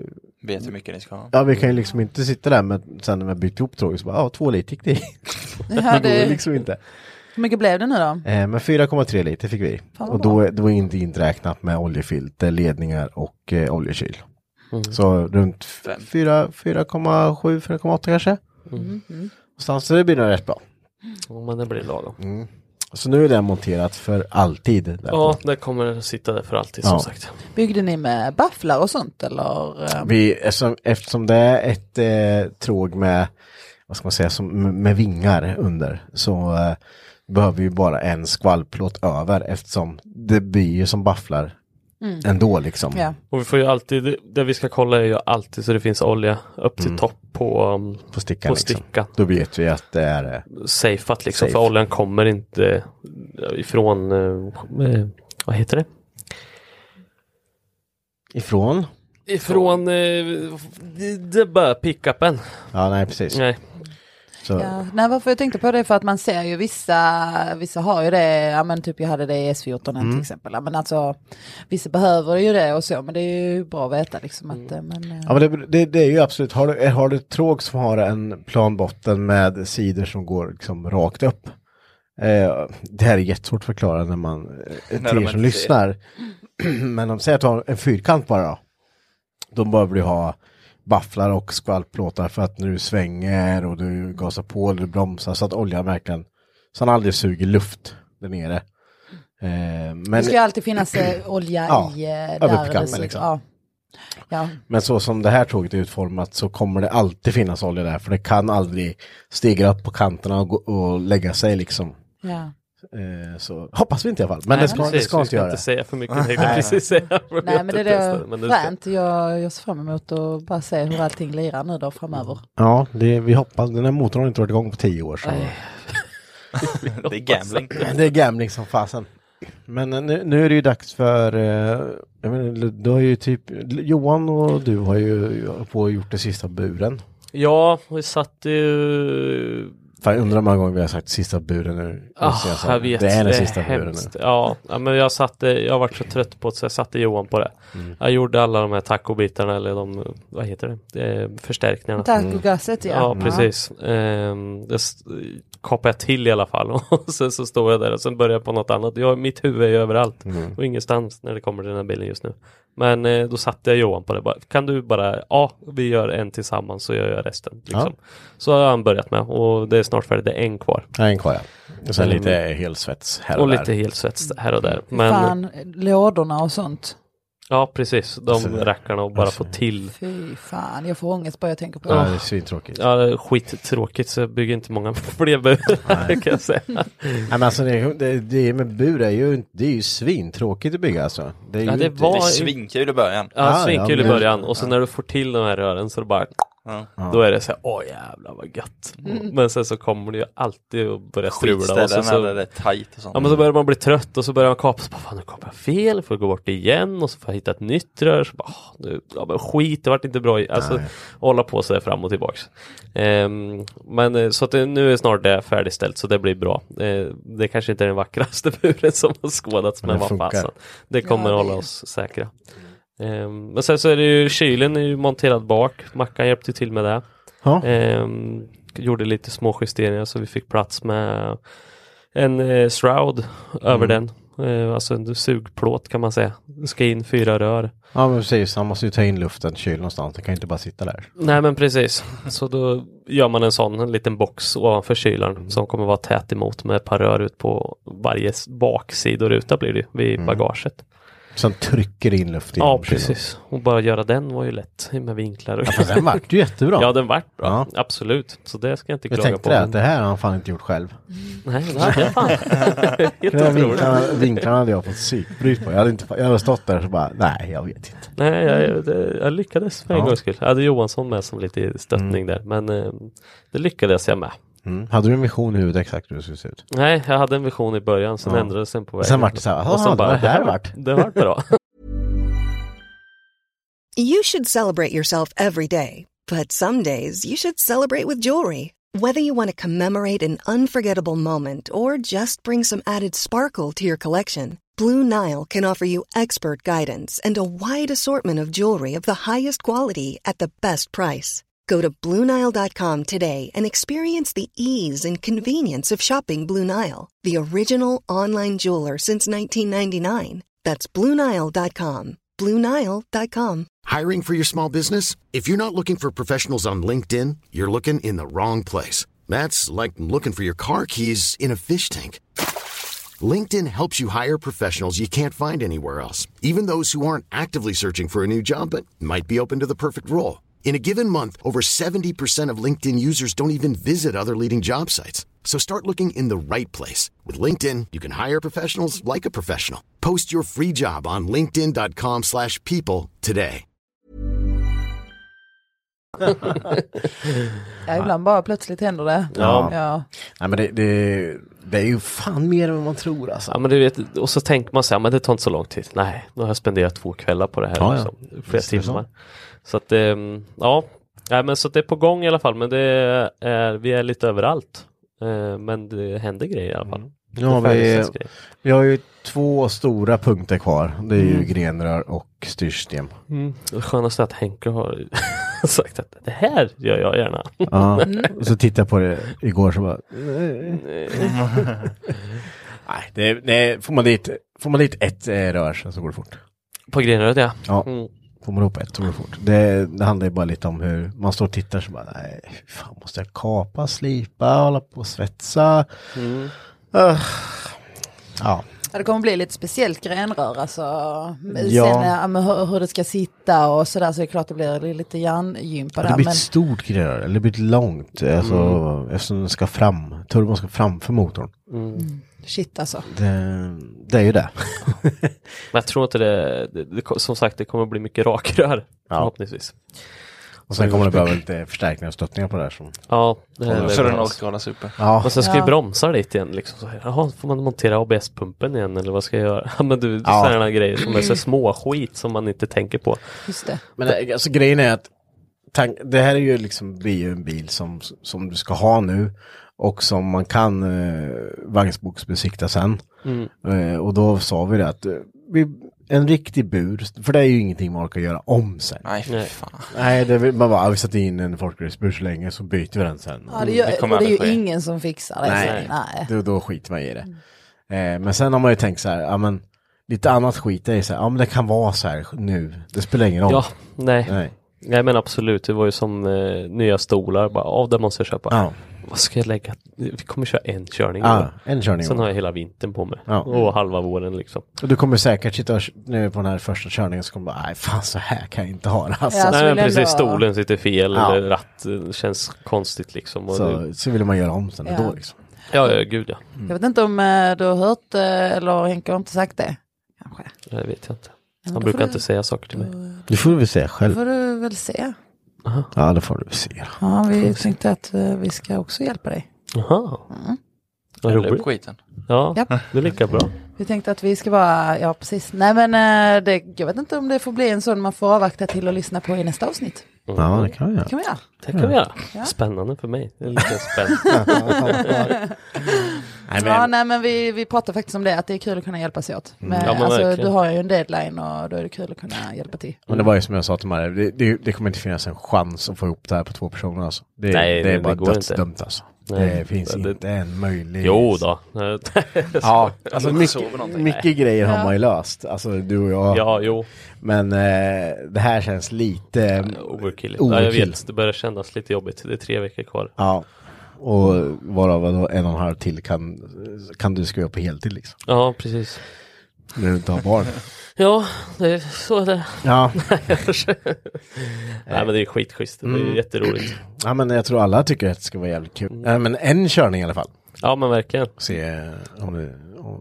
Speaker 5: Vet hur mycket ni ska ha.
Speaker 4: ja vi kan ju liksom inte sitta där med, sen när vi har byggt ihop tråget så bara, ja två liter gick det i.
Speaker 3: Ja,
Speaker 4: Det går
Speaker 3: det.
Speaker 4: liksom inte.
Speaker 3: Hur mycket blev det nu då?
Speaker 4: Eh, men 4,3 liter fick vi.
Speaker 3: Fan vad
Speaker 4: Och då, är- då är inte inräknat med oljefilter, ledningar och eh, oljekyl.
Speaker 2: Mm.
Speaker 4: Så runt f-
Speaker 5: Fem.
Speaker 4: fyra- 4,7, 4,8 kanske.
Speaker 3: Mm,
Speaker 4: Någonstans, så det blir nog rätt bra. Mm.
Speaker 2: Ja, men det blir lagom.
Speaker 4: Så nu är den monterat för alltid. Där
Speaker 2: Ja, det kommer den sitta där för alltid som
Speaker 4: Ja.
Speaker 2: sagt.
Speaker 3: Byggde ni med bafflar och sånt eller? eh,
Speaker 4: Vi, eftersom, eftersom det är ett eh, tråg med, vad ska man säga, som, med- med vingar under så eh, behöver vi ju bara en skvalplåt över eftersom det blir ju som bafflar ändå liksom.
Speaker 3: Mm. Ja.
Speaker 2: Och vi får ju alltid, det vi ska kolla är ju alltid så det finns olja upp till
Speaker 4: Mm.
Speaker 2: topp på, um,
Speaker 4: På stickan.
Speaker 2: på
Speaker 4: liksom.
Speaker 2: stickan.
Speaker 4: Då vet vi att det är eh,
Speaker 2: Safeat liksom,
Speaker 4: Safe.
Speaker 2: för oljan kommer inte ifrån, eh, vad heter det?
Speaker 4: ifrån.
Speaker 2: Ifrån, eh, det- det är bara pickupen.
Speaker 4: Ja, nej precis.
Speaker 2: Nej,
Speaker 4: Så,
Speaker 3: Ja, nej, varför jag tänkte på det är för att man ser ju vissa, vissa har ju det, ja men typ jag hade det i S14 -en
Speaker 4: Mm.
Speaker 3: till exempel, ja, men alltså vissa behöver ju det och så, men det är ju bra att veta liksom att, eh, men, eh,
Speaker 4: Mm. Ja, men det, det, det är ju absolut, har du, har du ett tråg som har en plan botten med sidor som går liksom rakt upp. Eh, det här är jättesvårt att förklara när man, eh,
Speaker 5: När
Speaker 4: till
Speaker 5: de
Speaker 4: er
Speaker 5: inte
Speaker 4: som
Speaker 5: ser.
Speaker 4: lyssnar. men om säger att du har en fyrkant bara då. Då behöver du ha bafflar och skvalplåtar för att när du svänger och du gasar på eller du bromsar så att oljan verkligen, så den aldrig suger luft där nere. Eh, men,
Speaker 3: det ska ju alltid finnas eh, olja
Speaker 4: Ja,
Speaker 3: i eh, där.
Speaker 4: över på
Speaker 3: det
Speaker 4: kampen,
Speaker 3: ser-
Speaker 4: liksom.
Speaker 3: ja. Ja.
Speaker 4: Men så som det här tåget är utformat så kommer det alltid finnas olja där för det kan aldrig stiga upp på kanterna och, gå, och lägga sig liksom.
Speaker 3: Ja.
Speaker 4: Eh, så hoppas vi inte i alla fall. Men det ska,
Speaker 2: precis,
Speaker 4: det ska
Speaker 2: vi
Speaker 4: inte göra.
Speaker 2: inte säga för mycket. tänkte jag precis säga.
Speaker 3: Nej men det
Speaker 2: Testa
Speaker 3: är
Speaker 2: det,
Speaker 3: då
Speaker 2: men det ska-
Speaker 3: skönt, jag, jag ser fram emot att bara se hur allting lirar nu då framöver.
Speaker 4: Ja, det, vi hoppas. Den här motorn har inte varit igång på tio år. Så.
Speaker 5: Det är gambling.
Speaker 4: Det är gambling som fasen. Men eh, nu, nu är det ju dags för, eh, jag menar, du har ju typ, Johan och du har ju på och gjort det sista buren.
Speaker 2: Ja, vi satt ju
Speaker 4: Fan, jag undrar hur många gånger vi har sagt sista buren nu.
Speaker 2: Ah,
Speaker 4: Så sa,
Speaker 2: jag vet,
Speaker 4: det är den sista buren nu.
Speaker 2: hemskt. Ja, ja, men jag satte, jag var så trött på det så jag satte Johan på det.
Speaker 4: Mm.
Speaker 2: Jag gjorde alla de här tacobitarna eller de, vad heter det, eh,
Speaker 4: Mm.
Speaker 2: förstärkningarna.
Speaker 3: Tack och gasset ja.
Speaker 2: ja, precis. Ehm, det s- kapade jag till i alla fall och sen så står jag där och sen börjar jag på något annat. Jag, mitt huvud är ju överallt
Speaker 4: Mm.
Speaker 2: och ingenstans när det kommer till den här bilen just nu. Men eh, då satte jag Johan på det. Bara, kan du bara, ja, vi gör en tillsammans så gör jag resten. Liksom. Så har han börjat med och det är snart färdigt, det är en kvar.
Speaker 4: Ja, en kvar ja. Och sen
Speaker 2: Mm.
Speaker 4: lite helsvets här och,
Speaker 2: Och
Speaker 4: där.
Speaker 2: lite helsvets här och där. Men,
Speaker 3: Fan, lådorna och sånt.
Speaker 2: Ja precis, de
Speaker 4: Alltså, det-
Speaker 2: rackarna och bara
Speaker 4: alltså-
Speaker 2: få till.
Speaker 3: Fy fan, jag får ångest bara jag tänker på
Speaker 4: Ja,
Speaker 3: det.
Speaker 4: det är svintråkigt.
Speaker 2: Ja, det är skittråkigt så jag bygger inte många fler burar kan jag säga.
Speaker 4: Nej, men alltså det, det, det med bur är ju, det är ju svintråkigt att bygga alltså. Det är
Speaker 2: Ja,
Speaker 4: ju
Speaker 2: det
Speaker 4: inte-
Speaker 5: Det är
Speaker 2: var
Speaker 5: svinkul i början.
Speaker 2: ja,
Speaker 4: Ah, Ja,
Speaker 2: svinkul
Speaker 4: ja, men-
Speaker 2: i början och så när du får till de här rören så är det bara
Speaker 5: Ja.
Speaker 2: Då är det så här, åh jävlar vad gött. Men sen så kommer det ju alltid att börja strula. Och så,
Speaker 5: Skitställen
Speaker 2: så,
Speaker 5: eller det är tajt och sånt.
Speaker 2: ja, men så börjar man bli trött och så börjar man kapa. Så bara, fan nu kom jag fel, får jag gå bort igen och så får jag hitta ett nytt rör. Så bara, åh, nu, ja, men skit, det vart inte bra. i- Alltså hålla på så där fram och tillbaks. Ehm, men eh, så att det, nu är snart det färdigställt så det blir bra. Eh, det kanske inte är den vackraste buren som har skådats
Speaker 4: Men
Speaker 2: men
Speaker 4: det
Speaker 2: vad
Speaker 4: funkar.
Speaker 2: fasen. Det kommer
Speaker 3: Ja, det-
Speaker 2: hålla oss säkra. Ehm, men sen så är det ju kylen är ju monterad bak. Mackan hjälpte ju till med det.
Speaker 4: Ja.
Speaker 2: Ehm, gjorde lite små justeringar så vi fick plats med en eh, shroud
Speaker 4: Mm.
Speaker 2: över den. Eh, alltså en sugplåt kan man säga. Det ska in fyra rör.
Speaker 4: Ja men precis, han måste ju ta in luften, kyl någonstans. Han kan ju inte bara sitta där.
Speaker 2: Nej men precis. Så då gör man en sån en liten box ovanför kylaren som kommer vara tät emot med ett par rör ut på varje s- baksidoruta blir det ju, vid
Speaker 4: Mm.
Speaker 2: bagaget.
Speaker 4: Så han trycker in luft genom
Speaker 2: Ja
Speaker 4: kylen.
Speaker 2: precis. Och bara göra den var ju lätt med vinklar och
Speaker 4: Fast den vart ju jättebra.
Speaker 2: Ja den vart bra.
Speaker 4: Ja.
Speaker 2: Absolut. Så det ska jag inte
Speaker 4: jag
Speaker 2: klaga på.
Speaker 4: tänkte det, att det här har han fan inte gjort själv.
Speaker 2: Nej, det hade jag fan. Helt
Speaker 4: Den här
Speaker 2: otroligt.
Speaker 4: vinklarna, vinklarna hade jag fått psykbryt på. Jag hade, inte, jag hade stått där och så bara, nej jag vet inte.
Speaker 2: Nej, jag, det, jag lyckades för en
Speaker 4: Ja.
Speaker 2: gångs skull. Jag hade Johansson med som lite stöttning där, men eh, det lyckades jag med.
Speaker 4: Mm. Hade du en vision i huvudet exakt hur det skulle se ut?
Speaker 2: Nej, jag hade en vision i början, sen ändrades den på vägen.
Speaker 4: Sen vart det så här,
Speaker 2: Och
Speaker 4: "Jaha,
Speaker 2: sen
Speaker 4: det
Speaker 2: bara,
Speaker 4: var det här
Speaker 2: var-
Speaker 4: vart."
Speaker 2: Det vart bra.
Speaker 6: You should celebrate yourself every day, but some days you should celebrate with jewelry. Whether you want to commemorate an unforgettable moment or just bring some added sparkle to your collection, Blue Nile can offer you expert guidance and a wide assortment of jewelry of the highest quality at the best price. Go to BlueNile.com today and experience the ease and convenience of shopping Blue Nile, the original online jeweler since 1999. That's BlueNile.com. BlueNile.com.
Speaker 7: Hiring for your small business? If you're not looking for professionals on LinkedIn, you're looking in the wrong place. That's like looking for your car keys in a fish tank. LinkedIn helps you hire professionals you can't find anywhere else, even those who aren't actively searching for a new job but might be open to the perfect role. In a given month, over 70% of LinkedIn users don't even visit other leading job sites. So start looking in the right place. With LinkedIn, you can hire professionals like a professional. Post your free job on linkedin.com/people slash people today.
Speaker 3: Ja, ibland bara plötsligt händer det.
Speaker 4: Ja.
Speaker 3: Ja.
Speaker 4: Nej men det, det, det är ju fan mer än vad man tror alltså.
Speaker 2: Ja, men du vet, och så tänker man så här, men det tar inte så lång tid. Nej, nu har jag spenderat två kvällar på det här.
Speaker 4: Ja, ja.
Speaker 2: liksom, Flera
Speaker 4: Visst är det så.
Speaker 2: timmar. Så att, ehm, ja. Nej, men så att det är på gång i alla fall, men det är, vi är lite överallt. Eh, Men det händer grejer i alla fall.
Speaker 4: Nu har
Speaker 2: Det
Speaker 4: Mm. vi,
Speaker 2: färdigställs grejer.
Speaker 4: vi har ju två stora punkter kvar. Det är ju grenrör och styrsystem.
Speaker 2: Det skönaste är att Henke har sagt att det här gör jag gärna.
Speaker 4: Ja. Och så tittade jag på det igår så bara, Mm. nej, det, är- nej får, man dit, får man dit ett eh, rör så- så går det fort.
Speaker 2: På Grenröd ja.
Speaker 4: Ja.
Speaker 2: Mm.
Speaker 4: Får man ihop ett så går det fort. Det, det handlar ju bara lite om hur man står och tittar så bara, nej, hur fan måste jag kapa, slipa, hålla på och svetsa. Ah. Ja.
Speaker 3: Ja, det kommer bli lite speciellt grenrör alltså. Men
Speaker 4: Ja.
Speaker 3: Sen ja, men hur, hur det ska sitta och sådär så är det klart det blir lite hjärngympa
Speaker 4: Det
Speaker 3: där.
Speaker 4: blir
Speaker 3: Men Mm.
Speaker 4: ett stort grenrör, eller det blir ett långt, alltså, eftersom den ska fram, turbon ska framför motorn.
Speaker 2: Mm.
Speaker 3: shit alltså.
Speaker 4: Det, det är ju det.
Speaker 2: Men jag tror inte det, det, det som sagt det kommer bli mycket rakrör förhoppningsvis.
Speaker 4: Och sen kommer det behöva lite förstärkningar och stöttningar på det här som...
Speaker 2: Ja, det här
Speaker 5: så
Speaker 2: är
Speaker 5: den
Speaker 2: bra.
Speaker 5: orkar hålla sig uppe.
Speaker 4: Ja,
Speaker 2: Och sen ska
Speaker 3: Ja.
Speaker 2: vi bromsa dit igen liksom. Så här, Jaha, får man montera ABS-pumpen igen eller vad ska jag göra? Ja men du,
Speaker 4: Ja.
Speaker 2: sådana grejer som är så små skit som man inte tänker på.
Speaker 3: Just det.
Speaker 4: men eh, alltså, grejen är att tank, det här är ju liksom, blir ju en bil som, som du ska ha nu och som man kan eh, vagnsboksbesikta sen.
Speaker 3: Mm.
Speaker 4: Eh, och då sa vi det att eh, vi, en riktig bur, för det är ju ingenting man orkar göra om sen.
Speaker 5: Nej, fy fan.
Speaker 4: Nej, det, vill- man bara, "Ah, vi sätter in en folkracebur så länge så byter vi den sen.
Speaker 3: Ja, det, gör,
Speaker 5: det
Speaker 3: det,
Speaker 5: kommer
Speaker 3: och det är ju
Speaker 5: aldrig ske.
Speaker 3: ingen som fixar det.
Speaker 4: Nej.
Speaker 3: Så, nej.
Speaker 4: Då, då skiter man i det. Eh, men sen har man ju tänkt så här, ja men lite annat skit är ju så här, ja men det kan vara så här nu, det spelar ingen roll.
Speaker 2: Ja, nej. nej.
Speaker 4: Nej.
Speaker 2: men absolut, det var ju som eh, nya stolar, bara av det måste jag köpa.
Speaker 4: Ja,
Speaker 2: Vad ska jag lägga? Vi kommer köra en körning.
Speaker 4: ja en körning.
Speaker 2: Sen har jag hela vintern på mig.
Speaker 4: Ja.
Speaker 2: Och halva våren liksom.
Speaker 4: Och du kommer säkert sitta och, nu på den här första körningen så kommer du bara, nej fan så här kan jag inte ha det alltså.
Speaker 3: Ja. Alltså,
Speaker 2: Nej men
Speaker 3: vill ändå-
Speaker 2: precis, stolen sitter fel,
Speaker 4: Ja.
Speaker 2: eller ratt eh, känns konstigt liksom. Och det,
Speaker 4: Så, så vill man göra om sen
Speaker 3: Ja.
Speaker 4: ändå liksom.
Speaker 2: ja, ja, gud ja.
Speaker 3: Jag vet inte om eh, du har hört eh, eller Henke har inte sagt det. Kanske.
Speaker 2: Det vet jag inte.
Speaker 3: Ja, men
Speaker 2: Han
Speaker 3: då
Speaker 2: brukar
Speaker 3: får
Speaker 2: inte säga saker till mig.
Speaker 4: Det får du väl säga
Speaker 3: Det
Speaker 4: själv.
Speaker 3: får du väl se.
Speaker 4: Ja, det får du se.
Speaker 3: Ja, vi tänkte att eh, vi ska också hjälpa dig. Mm.
Speaker 2: Jaha. Vad
Speaker 5: Häll upp
Speaker 2: roligt.
Speaker 5: skiten.
Speaker 2: Ja,
Speaker 3: Japp.
Speaker 2: det är lika bra.
Speaker 3: Vi tänkte att vi ska vara, ja precis. Nej men eh, det, jag vet inte om det får bli en sån man får avvakta till och lyssna på i nästa avsnitt.
Speaker 4: Ja, det kan vi göra.
Speaker 3: kan vi göra.
Speaker 2: Det kan vi göra. Spännande för mig. Det är lite spännande.
Speaker 4: Nej,
Speaker 3: Ja,
Speaker 4: men,
Speaker 3: nej men vi, vi pratade faktiskt om det, att det är kul att kunna hjälpas åt. Men,
Speaker 2: Ja, men
Speaker 3: alltså,
Speaker 2: verkligen.
Speaker 3: du har ju en deadline och då är det kul att kunna hjälpa till.
Speaker 4: men det var ju som jag sa till Maria, det, det, det kommer inte finnas en chans att få ihop det här på två personer alltså. Det,
Speaker 2: Nej,
Speaker 4: det är
Speaker 2: det
Speaker 4: bara
Speaker 2: går inte.
Speaker 4: dödsdömt alltså.
Speaker 2: Nej,
Speaker 4: det finns
Speaker 2: det-
Speaker 4: inte en möjlighet.
Speaker 2: Jo då.
Speaker 4: Ja, alltså
Speaker 5: sover
Speaker 4: mycket,
Speaker 5: någonting.
Speaker 4: mycket grejer har man ju löst. Alltså du och jag.
Speaker 2: Ja, jo.
Speaker 4: Men eh, det här känns lite...
Speaker 2: Overkill. Ja, jag
Speaker 4: Overkill.
Speaker 2: vet. Det börjar kännas lite jobbigt. Det är tre veckor kvar.
Speaker 4: Ja. Och varav vadå, en och en halv till kan, kan du skriva på heltid liksom.
Speaker 2: Ja, precis.
Speaker 4: När du inte har barn.
Speaker 2: Ja, det är så det är.
Speaker 4: Ja.
Speaker 2: Nej, men det är skitschysst. Det är
Speaker 4: Mm.
Speaker 2: jätteroligt.
Speaker 4: ja, men jag tror alla tycker att det ska vara jävligt kul.
Speaker 2: Mm.
Speaker 4: Ja, men en körning i alla fall.
Speaker 2: Ja, men verkligen.
Speaker 4: Se om det,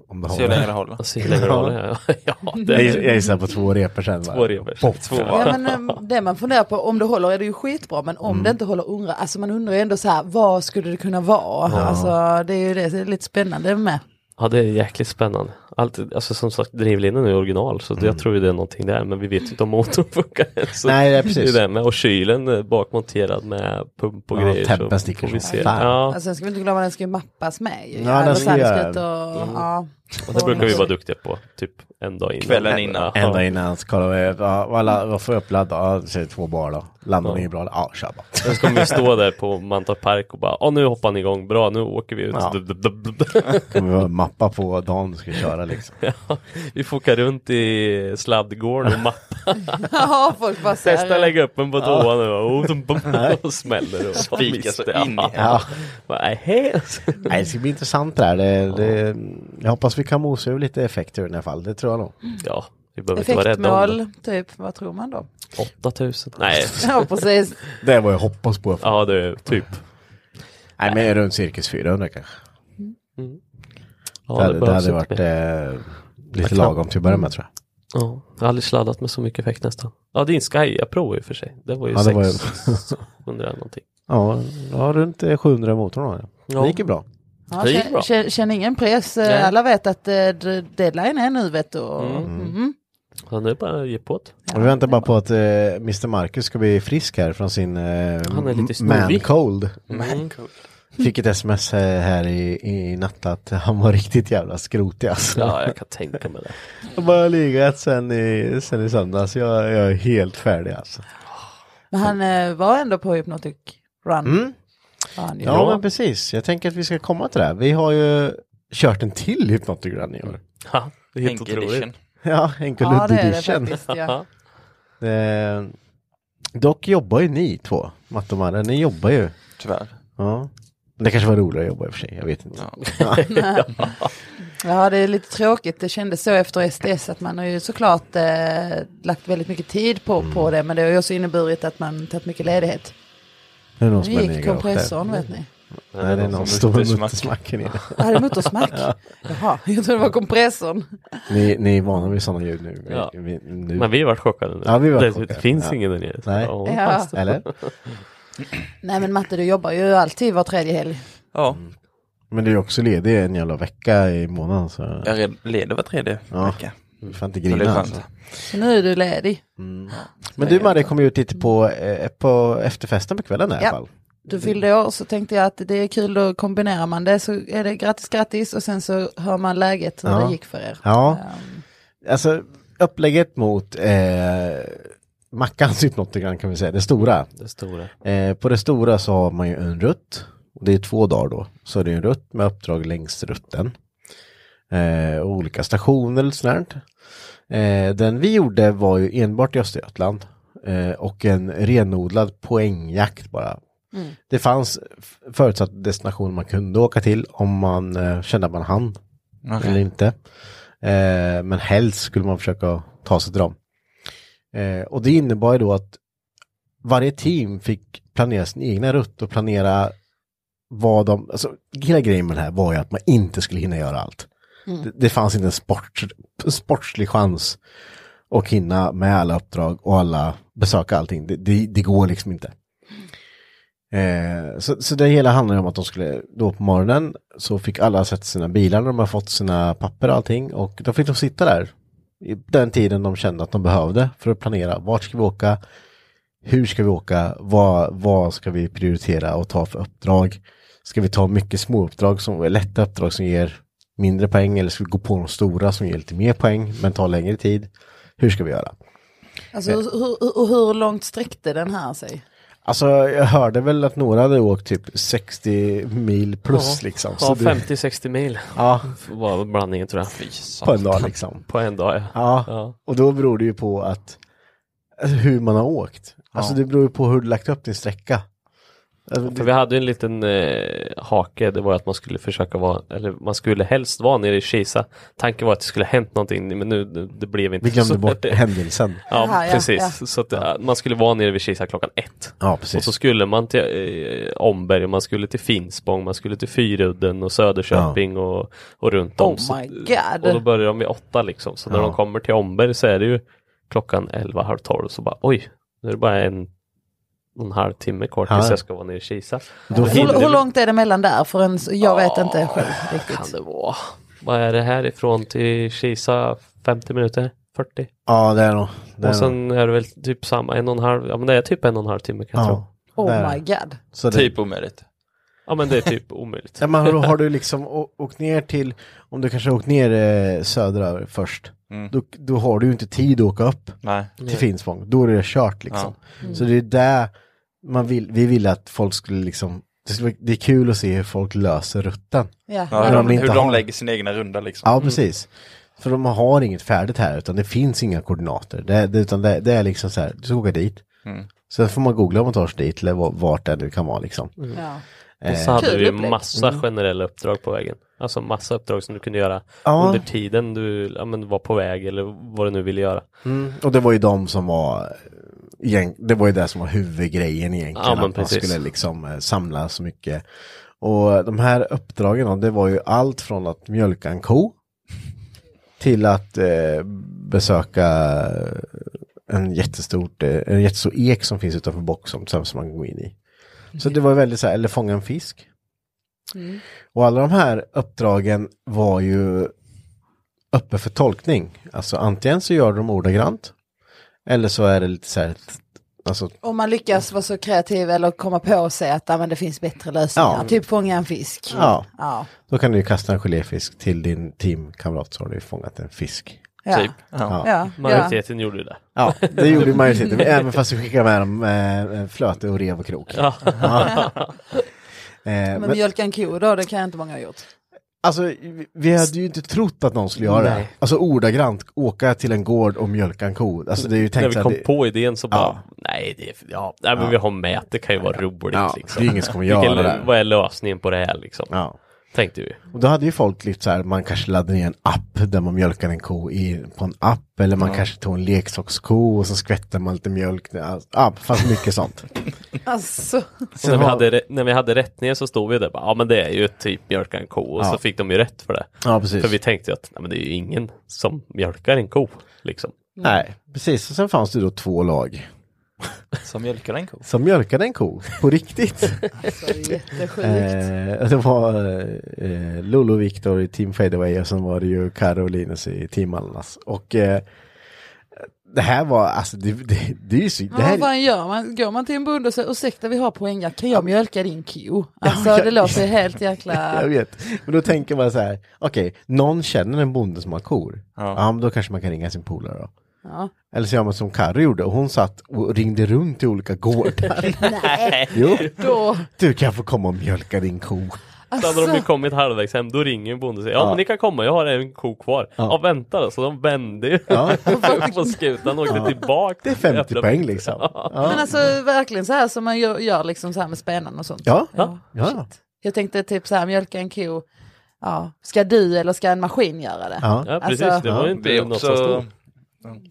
Speaker 4: om det
Speaker 5: Se hur
Speaker 4: håller.
Speaker 5: länge det håller.
Speaker 2: Och se hur länge det håller. Ja, det
Speaker 4: Jag
Speaker 2: är
Speaker 4: gissar- Jag gissar på två repor sen. bara.
Speaker 2: två revers.
Speaker 4: Pop.
Speaker 5: Två
Speaker 3: Ja,
Speaker 5: va?
Speaker 3: men eh, det man funderar på, om det håller är det ju skitbra, men om det inte håller undrar, alltså man undrar ju ändå så här, vad skulle det kunna vara? Alltså det är ju det, så det är lite spännande med.
Speaker 2: Ja, det är jäkligt spännande. Allt, alltså som sagt, drivlinan är original så jag tror ju det är någonting där, men vi vet ju inte om motorn funkar. än, Så
Speaker 4: Mm. Nej, det är
Speaker 2: det är
Speaker 4: precis.
Speaker 2: det med. Och kylen är bakmonterad med pump
Speaker 4: Ja,
Speaker 2: och grejer.
Speaker 4: tempen
Speaker 2: så
Speaker 4: sticker
Speaker 2: får vi
Speaker 4: som
Speaker 2: se.
Speaker 4: fan.
Speaker 2: Ja,
Speaker 3: Alltså, sen ska vi inte glömma, den ska ju mappas med ju.
Speaker 4: Ja, den
Speaker 3: Alltså,
Speaker 4: ska
Speaker 3: här,
Speaker 4: göra
Speaker 3: ut och, ja.
Speaker 2: och det brukar vi vara duktiga på, typ en dag innan.
Speaker 5: Kvällen innan.
Speaker 2: Ja,
Speaker 4: En dag innan så kollar vi, ja, vad la- vad får jag uppladda? Ja, säg två bar då. Landar ni bra? Ja, kör bara.
Speaker 2: Sen ska vi stå där på Mantorp Park och bara, ja nu hoppar ni igång, bra nu åker vi ut.
Speaker 4: Ja.
Speaker 2: Dub, dub, dub, dub.
Speaker 4: Kommer vi mappa på dagen du ska köra liksom.
Speaker 2: vi får åka runt i sladdgården och mappa.
Speaker 3: ja, folk bara så här,
Speaker 2: Testa lägga upp en på toan nu och, dum, bum, och smäller det och
Speaker 5: Spika så
Speaker 2: missar.
Speaker 5: in i
Speaker 4: Ja.
Speaker 2: Bara, alltså." "Nähä."
Speaker 4: Nej, det ska bli intressant det här. Det, det, jag hoppas vi kan mosa ur lite effekter i alla fall. Det tror jag nog.
Speaker 2: Ja, vi behöver inte vara rädda om det.
Speaker 3: Effektmål, typ, vad tror man då?
Speaker 2: 8000? Nej,
Speaker 3: Ja, precis.
Speaker 4: Det är vad jag hoppas på.
Speaker 2: ja det är typ.
Speaker 4: Nej, men runt cirkus 400 kanske.
Speaker 2: Ja,
Speaker 4: Det, hade- det
Speaker 2: behövs
Speaker 4: hade
Speaker 2: inte
Speaker 4: varit
Speaker 2: mer.
Speaker 4: eh, lite lagom till att börja med tror jag.
Speaker 2: Ja, jag har aldrig sladdat med så mycket effekt nästan. Ja, din Sky Pro i och för sig. Det var ju
Speaker 4: Ja, det var ju-
Speaker 2: 600 eller någonting.
Speaker 4: Ja, ja runt eh, 700 i motorn har jag.
Speaker 2: Ja.
Speaker 4: Det gick ju bra.
Speaker 3: Ja,
Speaker 2: Det gick bra.
Speaker 3: känner, känner ingen press. Eh,
Speaker 2: Nej. Mm.
Speaker 3: Alla vet att eh, d- deadline är nu vet du. Och, Mhm.
Speaker 2: Ja, nu är det bara att ge på det.
Speaker 4: Och vi väntar bara på att eh, Mr. Marcus ska bli frisk här från sin eh,
Speaker 2: Han är lite
Speaker 4: man
Speaker 2: snorig.
Speaker 4: cold.
Speaker 5: Men cool.
Speaker 4: Fick ett sms här, här i, i natt att han var riktigt jävla skrotig alltså.
Speaker 2: Ja, jag kan tänka mig det.
Speaker 4: Jag har bara legat sen i, sen i söndags. Jag, jag är helt färdig alltså.
Speaker 3: Men han eh, var ändå på Hypnotic Run. Ja, han, ju.
Speaker 4: Mm. Ja, men precis. Jag tänker att vi ska komma till det. här. Vi har ju kört en till Hypnotic Run i år.
Speaker 2: Ja, det är helt
Speaker 5: Henke
Speaker 2: otroligt.
Speaker 5: edition.
Speaker 4: Ja, enkel
Speaker 3: Mm. ja det är det
Speaker 4: edition.
Speaker 3: faktiskt. Ja.
Speaker 4: Eh, dock jobbar ju ni två, Matte och Marre. Ni jobbar ju.
Speaker 5: Tyvärr.
Speaker 4: Ja. Det kanske var roligare att jobba i och för sig. Jag vet inte.
Speaker 5: Ja.
Speaker 3: ja, det är lite tråkigt. Det kändes så efter SDS att man har ju såklart eh, lagt väldigt mycket tid på,
Speaker 2: Mm.
Speaker 3: på det. Men det har ju också inneburit att man tagit mycket ledighet.
Speaker 4: Det är någon som
Speaker 3: Nu
Speaker 4: har ner i
Speaker 3: gick
Speaker 4: garaget där.
Speaker 3: kompressorn vet ni.
Speaker 4: Nej, det är någon som står med muttersmacken i det.
Speaker 3: Jag hade motorsmack. Jaha, jag trodde det var kompressorn.
Speaker 4: Ni, ni är vana vid sådana ljud nu. Vi-
Speaker 2: Ja.
Speaker 4: vi- nu.
Speaker 2: Men vi har varit chockade nu.
Speaker 4: Ja, vi har varit
Speaker 2: det
Speaker 4: chockade.
Speaker 2: finns
Speaker 4: Ja.
Speaker 2: ingen där nere. Så,
Speaker 4: Nej.
Speaker 2: ja,
Speaker 3: Ja.
Speaker 2: fast-
Speaker 4: Eller?
Speaker 3: Nej men Matte du jobbar ju alltid var tredje helg.
Speaker 5: Ja,
Speaker 4: Men du är också ledig en jävla vecka i månaden. Så
Speaker 5: jag red- leder var tredje
Speaker 4: Ja.
Speaker 5: vecka.
Speaker 4: du får inte
Speaker 5: Så det
Speaker 4: grina.
Speaker 5: är skönt.
Speaker 4: Alltså. Mm.
Speaker 3: Så nu är du ledig.
Speaker 4: Men du Marie kom ju ut lite på, eh, på efterfesten på kvällen i alla
Speaker 3: Ja.
Speaker 4: fall.
Speaker 3: Du fyllde år så tänkte jag att det är kul, då kombinerar man det så är det grattis, grattis och sen så hör man läget hur
Speaker 4: Ja.
Speaker 3: det gick för er.
Speaker 4: Ja.
Speaker 3: Ehm,
Speaker 4: Alltså upplägget mot eh, Mackans hypnotikern kan vi säga, det stora.
Speaker 2: Det stora.
Speaker 4: Eh, på det stora så har man ju en rutt. Och det är två dagar då. Så det är en rutt med uppdrag längs rutten. Eh, och olika stationer och sånt. där. Eh, den vi gjorde var ju enbart i Östergötland. Eh, och en renodlad poängjakt bara. Det fanns f- förutsatt destination man kunde åka till om man eh, kände att man hann eller inte. Eh, men helst skulle man försöka ta sig till dem. Eh, och det innebar ju då att varje team fick planera sin egna rutt och planera vad de, alltså hela grejen med det här var ju att man inte skulle hinna göra allt. Det, det fanns inte en sport, en sportslig chans och hinna med alla uppdrag och alla besöka allting. Det, det, det går liksom inte. Eh, så, så det hela handlar ju om att de skulle, då på morgonen så fick alla sätta sina bilar när de har fått sina papper och allting och då fick de sitta där i den tiden de kände att de behövde för att planera. Vart ska vi åka? Hur ska vi åka? Vad, vad ska vi prioritera och ta för uppdrag? Ska vi ta mycket små uppdrag som är lätta uppdrag som ger mindre poäng eller ska vi gå på de stora som ger lite mer poäng men tar längre tid? Hur ska vi göra?
Speaker 3: Alltså, hur, hur, och hur långt sträckte den här sig?
Speaker 4: Alltså jag hörde väl att några hade åkt typ 60 mil plus liksom.
Speaker 2: Ja,
Speaker 4: det-
Speaker 2: 50-60 mil
Speaker 4: ja,
Speaker 2: var blandningen tror jag.
Speaker 4: på en dag liksom.
Speaker 2: På en dag ja.
Speaker 4: Ja,
Speaker 2: Ja.
Speaker 4: och då beror det ju på att alltså, hur man har åkt. Alltså det beror ju på hur du lagt upp din sträcka. Alltså,
Speaker 2: För
Speaker 4: det,
Speaker 2: vi hade ju en liten eh, hake, det var att man skulle försöka vara, eller man skulle helst vara nere i Kisa. Tanken var att det skulle hänt någonting, men nu det, det blev inte
Speaker 4: vi glömde
Speaker 2: så.
Speaker 4: bort händelsen.
Speaker 2: Ja,
Speaker 3: Aha, ja,
Speaker 2: precis. Så att, eh, man skulle vara nere vid Kisa klockan ett.
Speaker 4: Ja,
Speaker 2: Och så
Speaker 4: precis.
Speaker 2: skulle man till eh, Omberg, och man skulle till Finspång, man skulle till Fyrudden och Söderköping och, och runt om.
Speaker 3: Oh
Speaker 2: Så-
Speaker 3: my
Speaker 2: Och då
Speaker 3: god.
Speaker 2: börjar de vid åtta liksom. Så när
Speaker 4: Ja.
Speaker 2: de kommer till Omberg så är det ju klockan elva, halv tolv. Så bara oj, nu är det bara en, och en halv timme kvar tills
Speaker 4: Ja.
Speaker 2: jag ska vara nere i Kisa.
Speaker 4: Då
Speaker 2: Och
Speaker 3: Hur,
Speaker 2: hinner
Speaker 3: hur
Speaker 2: vi-
Speaker 3: långt är det mellan där? För en, jag vet inte själv
Speaker 2: kan
Speaker 3: riktigt.
Speaker 2: det vara? Vad är det härifrån till Kisa? 50 minuter? 40?
Speaker 4: Ja, det är nog. Det är nog.
Speaker 2: och sen är det väl typ samma, en och en halv, ja men det är typ en och en halv timme kan jag tro.
Speaker 4: ja, där.
Speaker 3: Oh my god.
Speaker 4: Så det,
Speaker 5: Typ omöjligt.
Speaker 2: Ja men det är typ omöjligt.
Speaker 4: Ja, men har, har du liksom å- åkt ner till, om du kanske har åkt ner eh, södra först,
Speaker 5: Mm.
Speaker 4: då, då har du ju inte tid att åka upp
Speaker 5: Nej.
Speaker 4: till Finspång. Då är det kört liksom.
Speaker 2: Mm.
Speaker 4: Så det är där man vill, vi ville att folk skulle liksom, det, skulle, vara- det är kul att se hur folk löser rutten.
Speaker 3: Ja.
Speaker 5: Ja,
Speaker 4: Men
Speaker 5: hur
Speaker 4: om
Speaker 5: de,
Speaker 4: inte
Speaker 5: hur
Speaker 4: har-
Speaker 5: de lägger sin egna runda liksom.
Speaker 2: Mm.
Speaker 4: Ja, precis. För de har inget färdigt här, utan det finns inga koordinater. Det, det, utan det, det är liksom så här, du ska åka dit.
Speaker 5: Mm.
Speaker 4: Sen får man googla om man tar sig dit, eller va- vart det nu kan vara liksom. Eh,
Speaker 3: Ja.
Speaker 2: Och så hade
Speaker 3: Kul
Speaker 2: vi ju
Speaker 3: upplägg.
Speaker 2: massa
Speaker 4: Mm.
Speaker 2: generella uppdrag på vägen. Alltså massa uppdrag som du kunde göra
Speaker 4: Ja.
Speaker 2: under tiden du ja, men var på väg eller vad du nu ville göra.
Speaker 4: Mm. Och det var ju de som var, gäng- det var ju det som var huvudgrejen egentligen.
Speaker 2: Ja, men
Speaker 4: att man
Speaker 2: precis.
Speaker 4: skulle liksom eh, samla så mycket. Och de här uppdragen då, det var ju allt från att mjölka en ko till att eh, besöka eh, en, jättestort, eh, en jättestor ek som finns utanför Boxholm som som man kan gå in i. Så det var väldigt så här, eller fånga en fisk. Och alla de här uppdragen var ju öppna för tolkning. Alltså antingen så gör du dem ordagrant eller så är det lite så här, alltså
Speaker 3: Om man lyckas vara så kreativ eller komma på sig att ah, men det finns bättre lösningar.
Speaker 4: Ja.
Speaker 3: Typ fånga en fisk.
Speaker 4: Ja.
Speaker 3: Ja.
Speaker 4: Då kan du ju kasta en geléfisk till din teamkamrat så har du ju fångat en fisk.
Speaker 3: Ja.
Speaker 5: Typ. Ja.
Speaker 3: Ja. Ja.
Speaker 2: Majoriteten gjorde ju det.
Speaker 4: Ja, det gjorde ju majoriteten, även fast vi skickade med dem eh, flöte och rev och krok. Ja. Eh,
Speaker 3: Men
Speaker 4: men,
Speaker 3: mjölka en ko då, det kan inte många ha gjort.
Speaker 4: alltså, vi- vi hade ju inte trott att någon skulle göra det.
Speaker 2: Nej.
Speaker 4: Alltså ordagrant åka till en gård och mjölka en ko. Alltså det är ju
Speaker 2: När
Speaker 4: tänkt
Speaker 2: vi
Speaker 4: så här,
Speaker 2: kom
Speaker 4: det-
Speaker 2: på idén så bara,
Speaker 4: Ja.
Speaker 2: nej, det är, ja, nej men vi har med att det kan ju vara roligt
Speaker 4: Ja,
Speaker 2: liksom.
Speaker 4: det är ju ingen som kommer
Speaker 2: Vilken
Speaker 4: göra
Speaker 2: lö-
Speaker 4: det.
Speaker 2: Vad är lösningen på det här liksom?
Speaker 4: Ja.
Speaker 2: Tänkte vi.
Speaker 4: Och då hade ju folk lite så här, man kanske laddade ner en app där man mjölkar en ko i, på en app. Eller man kanske tog en leksaksko och så skvätter man lite mjölk. Alltså, Ja, fast mycket sånt.
Speaker 3: Alltså.
Speaker 2: Och när, vi
Speaker 4: har-
Speaker 2: hade, re- när vi hade rätt ner så stod vi där bara, ja men det är ju typ mjölka en ko och
Speaker 4: Ja.
Speaker 2: så fick de ju rätt för det.
Speaker 4: Ja, precis.
Speaker 2: För vi tänkte ju att nej, men det är ju ingen som mjölkar en ko liksom.
Speaker 4: Nej, precis. Och sen fanns det då två lag
Speaker 5: Som mjölkar en ko.
Speaker 4: som mjölkade en ko på riktigt.
Speaker 3: Jättesjukt.
Speaker 4: eh, det var eh, Lolo Victor i Team Fadeaway och sen var det ju Karo och Linus i Team Alnas. Och eh, det här var, alltså det, det, det är ju så... Det
Speaker 3: Men vad
Speaker 4: här,
Speaker 3: fan gör man? Går man till en bonde och säger ursäkta vi har poängar, kan jag mjölka din ko? Alltså det låter ju helt jäkla...
Speaker 4: jag vet. Men då tänker man så här, okej, någon känner en bonde som har kor. Ja.
Speaker 5: Ja.
Speaker 4: men då kanske man kan ringa sin polare då.
Speaker 3: Ja.
Speaker 4: Eller så gör man som Karo gjorde, och hon satt och ringde runt till olika gårdar. Nej. Jo,
Speaker 3: Då, alltså.
Speaker 4: du kan få komma och mjölka din ko.
Speaker 2: Så hade
Speaker 5: Alltså.
Speaker 2: de ju kommit halvvägs hem, då ringer en bonde och säger ja, men ni kan komma, jag har en ko kvar. Ja, vänta då, så de vände ju
Speaker 4: Ja.
Speaker 2: upp på skutan och åkte tillbaka.
Speaker 4: Det är 50 poäng liksom. Ja.
Speaker 3: men alltså verkligen så här som man gör, gör liksom så här med spännen och sånt.
Speaker 4: Ja.
Speaker 3: ja.
Speaker 4: Ja.
Speaker 3: shit. Jag tänkte typ så här mjölka en ko, ja. ska du eller ska en maskin göra det?
Speaker 4: Ja.
Speaker 2: Ja precis,
Speaker 3: Alltså-
Speaker 2: det var ju
Speaker 5: Det
Speaker 2: inte
Speaker 5: är
Speaker 2: något
Speaker 5: också-
Speaker 2: som stod.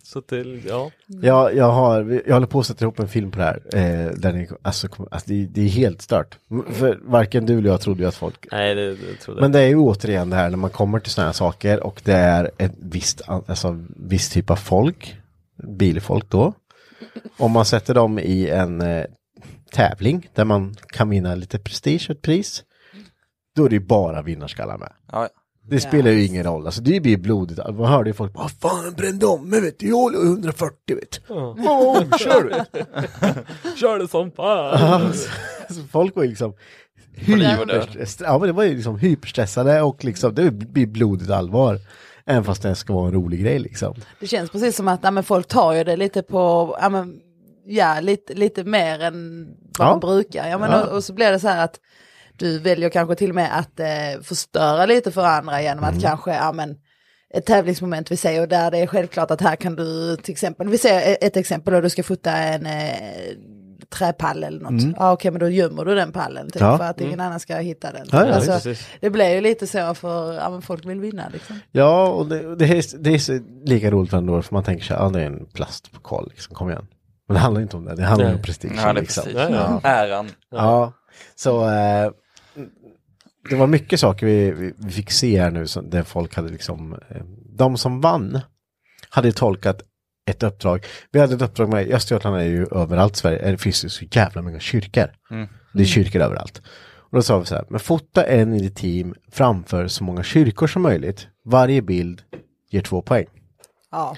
Speaker 2: Så till, ja.
Speaker 4: Jag, jag, har, jag håller på att sätta ihop en film på det här. Eh, där ni, alltså, kom- alltså, det, är- det är helt stört. M- För varken du eller jag trodde ju att folk...
Speaker 2: Nej det, det trodde
Speaker 4: Men det är ju återigen det här när man kommer till sådana här saker och det är ett visst, an- alltså, viss typ av folk bilfolk då. Om man sätter dem i en eh, tävling där man kan vinna lite prestige och ett pris. Då är det ju bara vinnarskallar med.
Speaker 5: Ja,
Speaker 4: Det spelar ju ingen roll, alltså det blir ju blodigt. Man hörde ju folk, vad fan brände om mig vet du, jag håller 140 vet du. Oh, kör du.
Speaker 2: Kör det som fan!
Speaker 4: Alltså, folk var ju liksom
Speaker 5: liv och död.
Speaker 4: hyperstre- ja, men det var ju liksom hyperstressade och liksom det blir blodigt allvar. Även fast det ska vara en rolig grej liksom.
Speaker 3: Det känns precis som att ja, men folk tar ju det lite på, ja, men, ja lite, lite mer än vad
Speaker 4: Ja.
Speaker 3: man brukar. Ja, men,
Speaker 4: Ja.
Speaker 3: Och, och så blir det så här att du väljer kanske till och med att eh, förstöra lite för andra genom
Speaker 4: Mm.
Speaker 3: att kanske, ja men, ett tävlingsmoment vi säger och där det är självklart att här kan du till exempel, vi säger e- ett exempel och du ska fota en eh, träpall eller något. Ja okej men då gömmer du den pallen typ,
Speaker 4: Mm. Ja. Mm.
Speaker 3: för att ingen annan ska hitta den.
Speaker 4: Ja, ja,
Speaker 3: alltså,
Speaker 2: precis.
Speaker 3: det blir ju lite så för, ja men folk vill vinna liksom.
Speaker 4: Ja, och det, och det, är, det är så lika roligt ändå för man tänker sig, ah, det är en plastpokal liksom, kom igen. Men det handlar inte om det, det handlar
Speaker 2: Nej.
Speaker 4: om prestige.
Speaker 5: ja det är
Speaker 4: liksom.
Speaker 5: precis.
Speaker 2: Ja, ja.
Speaker 5: Äran.
Speaker 4: Ja, så eh, det var mycket saker vi, vi- vi fick se här nu som, där folk hade liksom, eh, de som vann hade tolkat ett uppdrag. Vi hade ett uppdrag med, i Östergötland är ju överallt i Sverige, det finns ju så jävla många kyrkor. Det är kyrkor överallt. Och då sa vi så här, men fota en i ditt team framför så många kyrkor som möjligt. Varje bild ger två poäng.
Speaker 3: Ja.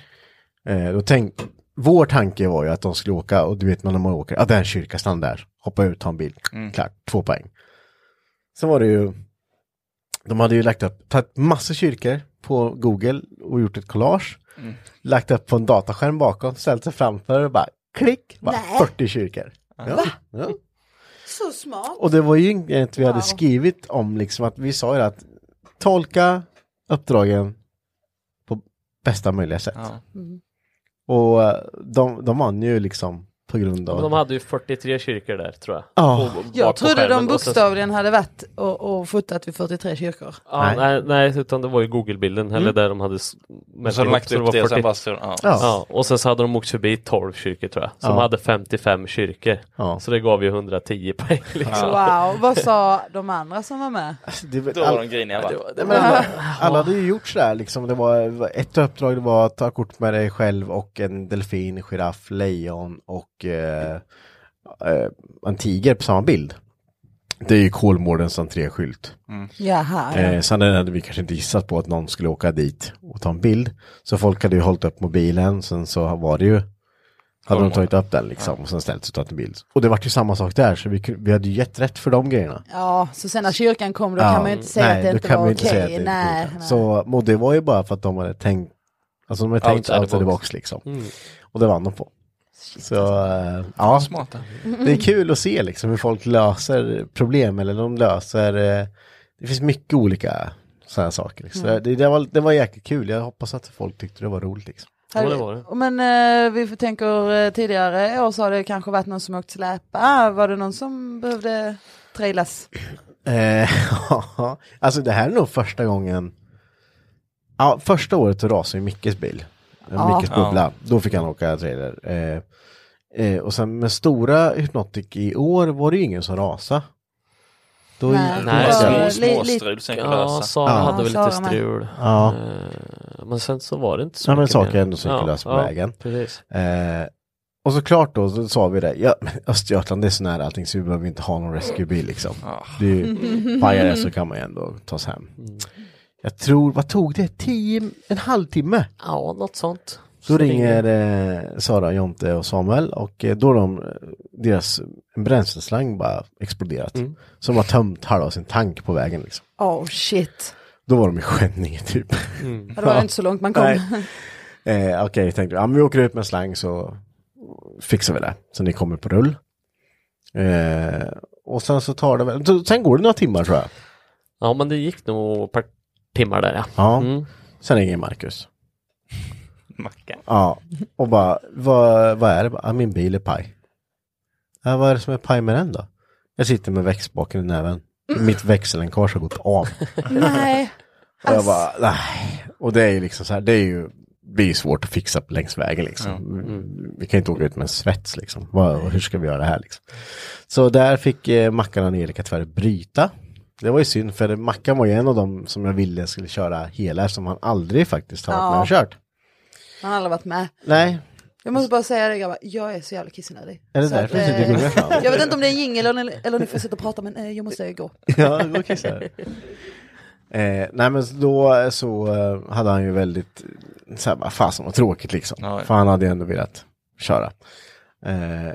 Speaker 4: Eh, då tänk, vår tanke var ju att de skulle åka och du vet när man åker, ja ah, det är en kyrka, stanna där, hoppa ut, ta en bild, klart, två poäng. Sen var det ju, de hade ju lagt upp, tagit massor kyrkor på Google och gjort ett collage, lagt upp på en dataskärm bakom, ställt sig framför och bara klick, bara 40 kyrkor. Ja, ja.
Speaker 3: Så smart.
Speaker 4: Och det var ju inget vi hade skrivit om liksom att vi sa ju att tolka uppdragen på bästa möjliga sätt.
Speaker 5: Ja.
Speaker 4: Och eh, de, de vann ju liksom på grund av...
Speaker 2: De hade ju 43 kyrkor där tror jag.
Speaker 4: Ja.
Speaker 2: På- bak på
Speaker 3: Jag trodde
Speaker 2: skärmen
Speaker 3: de
Speaker 2: och sen-
Speaker 3: bokstavligen hade varit och, och fotat vid 43 kyrkor.
Speaker 2: Ja, nej. nej, utan det var ju Google-bilden,
Speaker 4: Mm.
Speaker 2: eller där de hade s- mätt
Speaker 5: Så de
Speaker 2: ihop,
Speaker 5: lagt upp
Speaker 2: var
Speaker 5: det och
Speaker 2: 40.
Speaker 5: sen bara så, ja.
Speaker 4: Ja.
Speaker 2: Ja, och sen så hade de åkt förbi 12 kyrkor tror jag, som
Speaker 4: Ja.
Speaker 2: hade 55 kyrkor.
Speaker 4: Ja.
Speaker 2: Så det gav ju 110 poäng liksom.
Speaker 3: Wow, vad sa de andra som var med?
Speaker 4: Det var-
Speaker 5: Då var de
Speaker 4: all-
Speaker 5: griniga va?
Speaker 4: Nej, men alla, alla hade ju gjort sådär liksom. Det var ett uppdrag, det var att ta kort med dig själv och en delfin, giraff, lejon och eh, eh, en tiger på samma bild. Det är ju Kolmårdens entréskylt.
Speaker 3: Jaha, Ah, ja.
Speaker 4: Eh, sen hade vi kanske inte gissat på att någon skulle åka dit och ta en bild. Så folk hade ju hållit upp mobilen, sen så var det ju hade de tagit upp den liksom och sen ställt sig och tagit en bild. Och det vart ju samma sak där, så vi, kunde- vi hade ju gett rätt för de grejerna.
Speaker 3: ja, så sen när kyrkan kom då kan man ju inte säga att det
Speaker 4: då
Speaker 3: inte
Speaker 4: kan
Speaker 3: var
Speaker 4: man ju inte säga
Speaker 3: okej.
Speaker 4: att det inte
Speaker 3: nej,
Speaker 4: funkar.
Speaker 3: nej.
Speaker 4: Så och det var ju bara för att de hade tänkt, alltså de hade tänkt
Speaker 2: Outside the
Speaker 4: out of the
Speaker 2: box.
Speaker 4: box liksom.
Speaker 2: Mm.
Speaker 4: Och det vann de på. Så eh, ja,
Speaker 5: Smarta.
Speaker 4: det är kul att se liksom hur folk löser problem eller de löser, eh, det finns mycket olika sådana saker. Liksom.
Speaker 3: Mm.
Speaker 4: Så det, det, var, det var jäkligt kul, jag hoppas att folk tyckte det var roligt liksom.
Speaker 2: Ja, det var det.
Speaker 3: Men eh, vi får- tänker eh, tidigare år så har det kanske varit någon som åkt släpa. Ah, Var det någon som behövde trailas?
Speaker 4: Eh, ja, alltså det här är nog första gången, ja första året så rasade ju Mickes bil,
Speaker 3: Ja.
Speaker 4: Mickes bubbla, då fick han åka trailer. Eh, eh, och sen med stora Hypnotic i år var det ju ingen som rasade. Då
Speaker 3: Nej.
Speaker 4: gick-
Speaker 2: Nej,
Speaker 3: Ja,
Speaker 5: Små,
Speaker 3: li-
Speaker 5: små
Speaker 3: li-
Speaker 5: strul sen kan
Speaker 2: Ja,
Speaker 5: lösa.
Speaker 2: Sara
Speaker 4: Ja.
Speaker 2: hade väl
Speaker 3: Sara
Speaker 2: lite
Speaker 3: med.
Speaker 2: strul.
Speaker 4: Ja.
Speaker 2: Eh, Men sen så var det inte så
Speaker 4: Ja, men
Speaker 2: mycket
Speaker 4: saker
Speaker 2: mer.
Speaker 4: ändå som gick att lösa på vägen.
Speaker 2: Precis.
Speaker 4: Eh, och såklart då så sa vi det, ja, men Östergötland det är så nära allting så vi behöver inte ha någon rescuebil liksom.
Speaker 5: Ja.
Speaker 4: Det är ju, pajar det så kan man ju ändå ta sig hem.
Speaker 2: Mm.
Speaker 4: Jag tror, vad tog det? Tio, en halvtimme?
Speaker 2: Ja, något sånt.
Speaker 4: Då ringer eh, Sara, Jonte och Samuel och eh, då har de, eh, deras bränsleslang bara exploderat. Så de har tömt halva sin tank på vägen liksom.
Speaker 3: Oh shit.
Speaker 4: Då var de i skänningen typ.
Speaker 2: Mm.
Speaker 3: Ja, Det var inte så långt man kom.
Speaker 4: Nej. Eh, Okej, tänkte jag, ja, men vi åker ut med slang så fixar vi det. Så ni kommer på rull. Eh, och sen så tar det väl, så- sen går det några timmar tror jag.
Speaker 2: Ja, men det gick nog ett par timmar där ja.
Speaker 4: Ja.
Speaker 2: Mm.
Speaker 4: Sen ringer Marcus.
Speaker 5: Mackan.
Speaker 4: Ja, och bara, vad, vad är det? Ja, min bil är paj. Ja, vad är det som är paj med den då? Jag sitter med växtbaken i näven. Mitt växellänkage har gått av.
Speaker 3: Nej.
Speaker 4: Och jag bara,
Speaker 3: Alltså.
Speaker 4: nej. Och det är ju liksom så här, det är ju, det är ju svårt att fixa längs vägen liksom. Vi kan ju inte åka ut med en svets liksom. Vad, hur ska vi göra det här liksom? Så där fick eh, Mackan och Angelica tyvärr bryta. Det var ju synd för Mackan var ju en av dem som jag ville skulle köra hela eftersom han aldrig faktiskt har varit med och kört.
Speaker 3: Han har aldrig varit med.
Speaker 4: Nej,
Speaker 3: Jag måste bara säga det grabbar, jag är så jävla kissnödig.
Speaker 4: Är det
Speaker 3: Så att,
Speaker 4: därför du sitter och
Speaker 3: eh,
Speaker 4: googlar fram?
Speaker 3: Jag vet inte om det är en jingel eller, eller om ni får sitta och prata men eh, jag måste gå.
Speaker 4: Ja, gå och kissa. eh, nej men då så eh, hade han ju väldigt, så här, bara, fasen vad tråkigt liksom.
Speaker 5: Ja.
Speaker 4: För han hade ju ändå velat köra. Eh,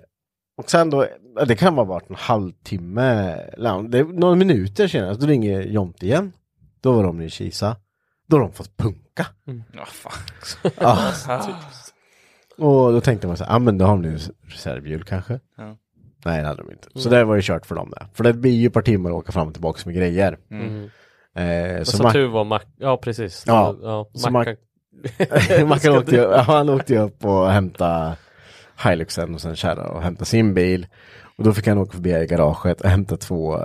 Speaker 4: och sen då, ja, det kan ha varit en halvtimme, eller det, är några minuter senare, då ringer Jomt igen. Då var de i Kisa. Då har de fått punka.
Speaker 5: Ja, fan.
Speaker 4: Ja.
Speaker 5: typ.
Speaker 4: Och då tänkte man så här, ah, men då har de nu reservhjul kanske.
Speaker 5: Ja. Mm.
Speaker 4: Nej, det hade de inte. Så det var ju kört för dem där. För det blir ju ett par timmar att åka fram och tillbaka med grejer. Eh,
Speaker 2: Mm. Och
Speaker 4: så
Speaker 2: så
Speaker 4: Mac-
Speaker 2: tur var Mac, ja precis.
Speaker 4: Ja,
Speaker 2: ja
Speaker 4: så
Speaker 2: Mackan-
Speaker 4: Mac- Mackan åkte ju, ja, han åkte ju upp och hämtade Hiluxen och sen kärra och hämtade sin bil. Och då fick han åka förbi i garaget och hämta två eh,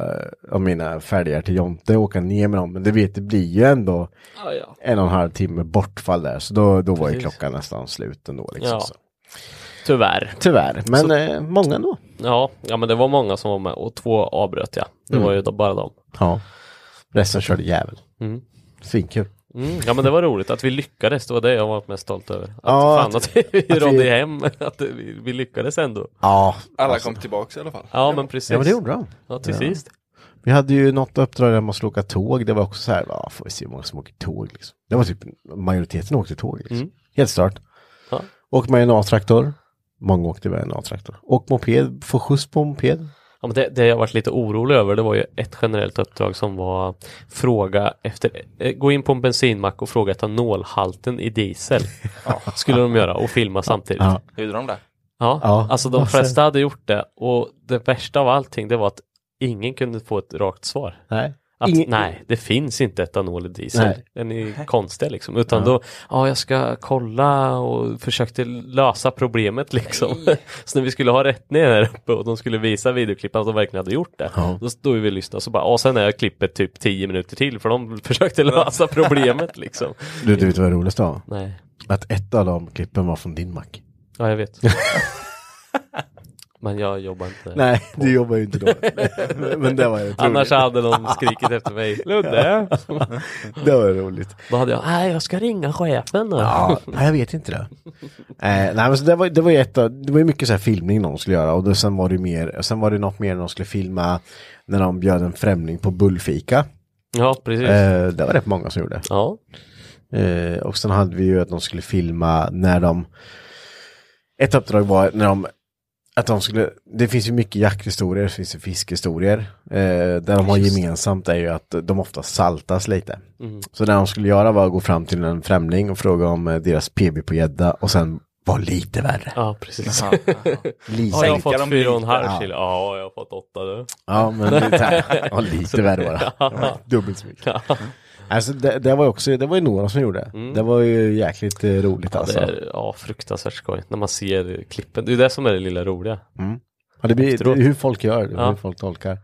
Speaker 4: av mina fälgar till Jonte och åka ner med dem. Men det, vet, det blir ju ändå
Speaker 2: ja, ja.
Speaker 4: en och en halv timme bortfall där. Så då, då var ju
Speaker 2: Precis.
Speaker 4: klockan nästan slut ändå. Liksom,
Speaker 2: Ja.
Speaker 4: så.
Speaker 2: Tyvärr.
Speaker 4: Tyvärr, men eh, många ändå.
Speaker 2: Ja, ja, men det var många som var med och två avbröt jag. Det
Speaker 4: Mm.
Speaker 2: var ju då bara dem.
Speaker 4: Ja. Resten körde jävel.
Speaker 2: Mm.
Speaker 4: Svinkul.
Speaker 2: Mm, ja men det var roligt att vi lyckades, det var det jag var mest stolt över. Att
Speaker 4: Ja,
Speaker 2: fan
Speaker 4: att-
Speaker 2: att, vi
Speaker 4: vi-
Speaker 2: rådde hem, att vi, vi lyckades ändå.
Speaker 4: Ja,
Speaker 5: Alla
Speaker 4: alltså.
Speaker 5: kom tillbaks i alla fall.
Speaker 2: Ja men precis.
Speaker 4: Ja, men det gjorde de.
Speaker 2: Ja, till sist.
Speaker 4: Vi hade ju något uppdrag där man skulle åka tåg. Det var också så här, ja, får vi se hur många som åker tåg. Liksom. Det var typ, majoriteten åkte tåg. Liksom. Helt stört.
Speaker 2: Mm. Ja.
Speaker 4: Åkte med en A-traktor. Många åkte med en A-traktor. Och moped, få skjuts på moped.
Speaker 2: Ja, men det, det jag varit lite orolig över det var ju ett generellt uppdrag som var fråga efter, eh, gå in på en bensinmack och fråga etanolhalten i diesel. Skulle de göra och filma samtidigt.
Speaker 4: Ja.
Speaker 2: Ja.
Speaker 5: Gjorde de det?
Speaker 4: Ja.
Speaker 2: Alltså de
Speaker 4: Och sen-
Speaker 2: flesta hade gjort det och det värsta av allting det var att ingen kunde få ett rakt svar.
Speaker 4: Nej.
Speaker 2: Att
Speaker 4: Ingen-
Speaker 2: nej, det finns inte etanol i diesel.
Speaker 4: Nej.
Speaker 2: Den är konstig liksom. Utan då, ja jag ska kolla och försökte lösa problemet liksom. så när vi skulle ha rätt ner här uppe och de skulle visa videoklippen att de verkligen hade gjort det.
Speaker 4: Ja.
Speaker 2: Då stod vi och lyssnade och så bara, ja sen är jag klippet typ 10 minuter till för de försökte lösa problemet liksom.
Speaker 4: Du, du vet vad det roligaste var?
Speaker 2: Nej,
Speaker 4: Att ett av de klippen var från din mack.
Speaker 2: ja jag vet. Men jag jobbar inte.
Speaker 4: Nej, du jobbar ju inte då. Men det var ju roligt.
Speaker 2: Annars hade de skrikit efter mig. Ludde!
Speaker 4: Det var ju roligt.
Speaker 2: Då hade jag, nej jag ska ringa chefen. då."
Speaker 4: Ja, nej, jag vet inte det. Eh, nej, men så det var, det var ju ett av, det var ju mycket så här filmning de skulle göra och då, sen var det ju mer, och sen var det något mer de skulle filma när de bjöd en främling på bullfika.
Speaker 2: Ja, precis.
Speaker 4: Eh, det var rätt många som gjorde.
Speaker 2: Ja.
Speaker 4: Eh, och sen hade vi ju att de skulle filma när de, ett uppdrag var när de att de skulle, det finns ju mycket jakthistorier, det finns ju fiskhistorier. Eh, där de har gemensamt är ju att de ofta saltas lite.
Speaker 2: Mm.
Speaker 4: Så det de skulle göra var att gå fram till en främling och fråga om eh, deras PB på gädda och sen var lite värre.
Speaker 2: Ja, precis.
Speaker 4: Liksom, Lite.
Speaker 2: Har jag
Speaker 5: Sänka
Speaker 2: fått
Speaker 5: dem
Speaker 2: fyra och en
Speaker 5: lite.
Speaker 2: halv kilo? Ja, jag har fått åtta du.
Speaker 4: Ja, men lite, så här, ja, lite värre var det. Det var Dubbelt så mycket. Alltså det, det var ju också, det var ju några som gjorde. Det var ju jäkligt eh, roligt alltså.
Speaker 2: Det är, Mm. ja, fruktansvärt skoj när man ser klippen. Det är det som är det lilla roliga.
Speaker 4: Ja, det blir,
Speaker 2: Efteråt.
Speaker 4: hur folk gör, hur
Speaker 2: Ja.
Speaker 4: folk tolkar.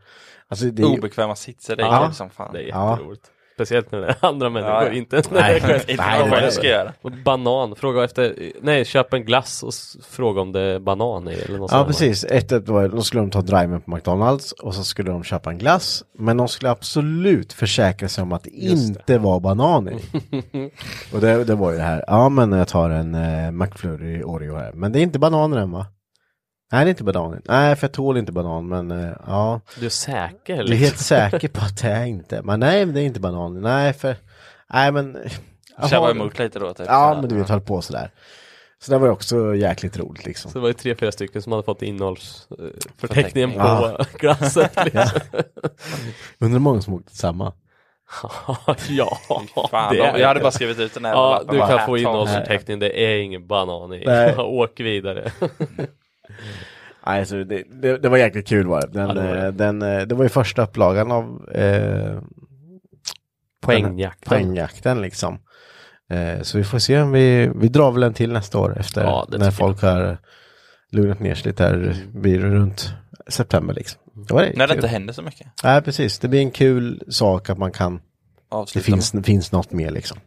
Speaker 4: Alltså, det är ju,
Speaker 5: Obekväma sitsar, det
Speaker 2: Ja.
Speaker 5: är kul som fan.
Speaker 2: Det är
Speaker 4: Ja.
Speaker 2: jätteroligt. Speciellt när det är andra människor,
Speaker 5: ja.
Speaker 2: inte ens när det är själv.
Speaker 5: Inte
Speaker 4: Nej,
Speaker 5: vad
Speaker 4: det är
Speaker 5: jag ska
Speaker 4: det.
Speaker 5: göra.
Speaker 2: Och Banan, fråga efter, nej köp en glass och s- fråga om det är banan i eller något
Speaker 4: Ja
Speaker 2: sånt.
Speaker 4: precis, ett, ett var, då skulle de ta driven på McDonalds och så skulle de köpa en glass. Men de skulle absolut försäkra sig om att det inte var banan i. och det, det var ju det här, ja men jag tar en eh, McFlurry Oreo här. Men det är inte banan i den va? Nej det är inte banan i. Nej för jag tål inte banan men eh, ja.
Speaker 2: Du är säker?
Speaker 4: Jag är
Speaker 2: Liksom.
Speaker 4: helt säker på att det är inte. Men nej det är inte banan i. Nej för, nej men.
Speaker 5: Tjabba emot lite då. Typ.
Speaker 4: Ja men du vet, höll på sådär. Så det var ju också jäkligt roligt liksom.
Speaker 2: Så det var ju tre, fyra stycken som hade fått innehållsförteckningen på
Speaker 4: Ja.
Speaker 2: glassen. Liksom.
Speaker 4: Undrar hur många som åkte samma.
Speaker 2: ja,
Speaker 5: Fan,
Speaker 2: det är
Speaker 5: de, jag hade bara skrivit ut den här
Speaker 2: Ja,
Speaker 5: lappen
Speaker 2: du
Speaker 5: bara,
Speaker 2: kan få
Speaker 5: ta
Speaker 2: innehållsförteckningen, det är ingen banan i.
Speaker 4: Nej.
Speaker 2: Åk vidare.
Speaker 4: Nej, alltså, det, det, det var jäkligt kul var det. Den,
Speaker 2: Ja, det
Speaker 4: eh,
Speaker 2: var
Speaker 4: den, eh,
Speaker 2: det.
Speaker 4: det. var ju första upplagan av eh,
Speaker 2: Poängjakten.
Speaker 4: poängjakten liksom. Eh, så vi får se om vi, vi drar väl en till nästa år efter
Speaker 2: Ja, det
Speaker 4: när
Speaker 2: tycker
Speaker 4: folk har lugnat ner sig lite här, blir det runt september liksom. Det var det,
Speaker 5: När det
Speaker 4: kul.
Speaker 5: inte händer så mycket.
Speaker 4: Nej, precis. Det blir en kul sak att man kan, det
Speaker 5: Avsluta
Speaker 4: finns, det finns något mer liksom.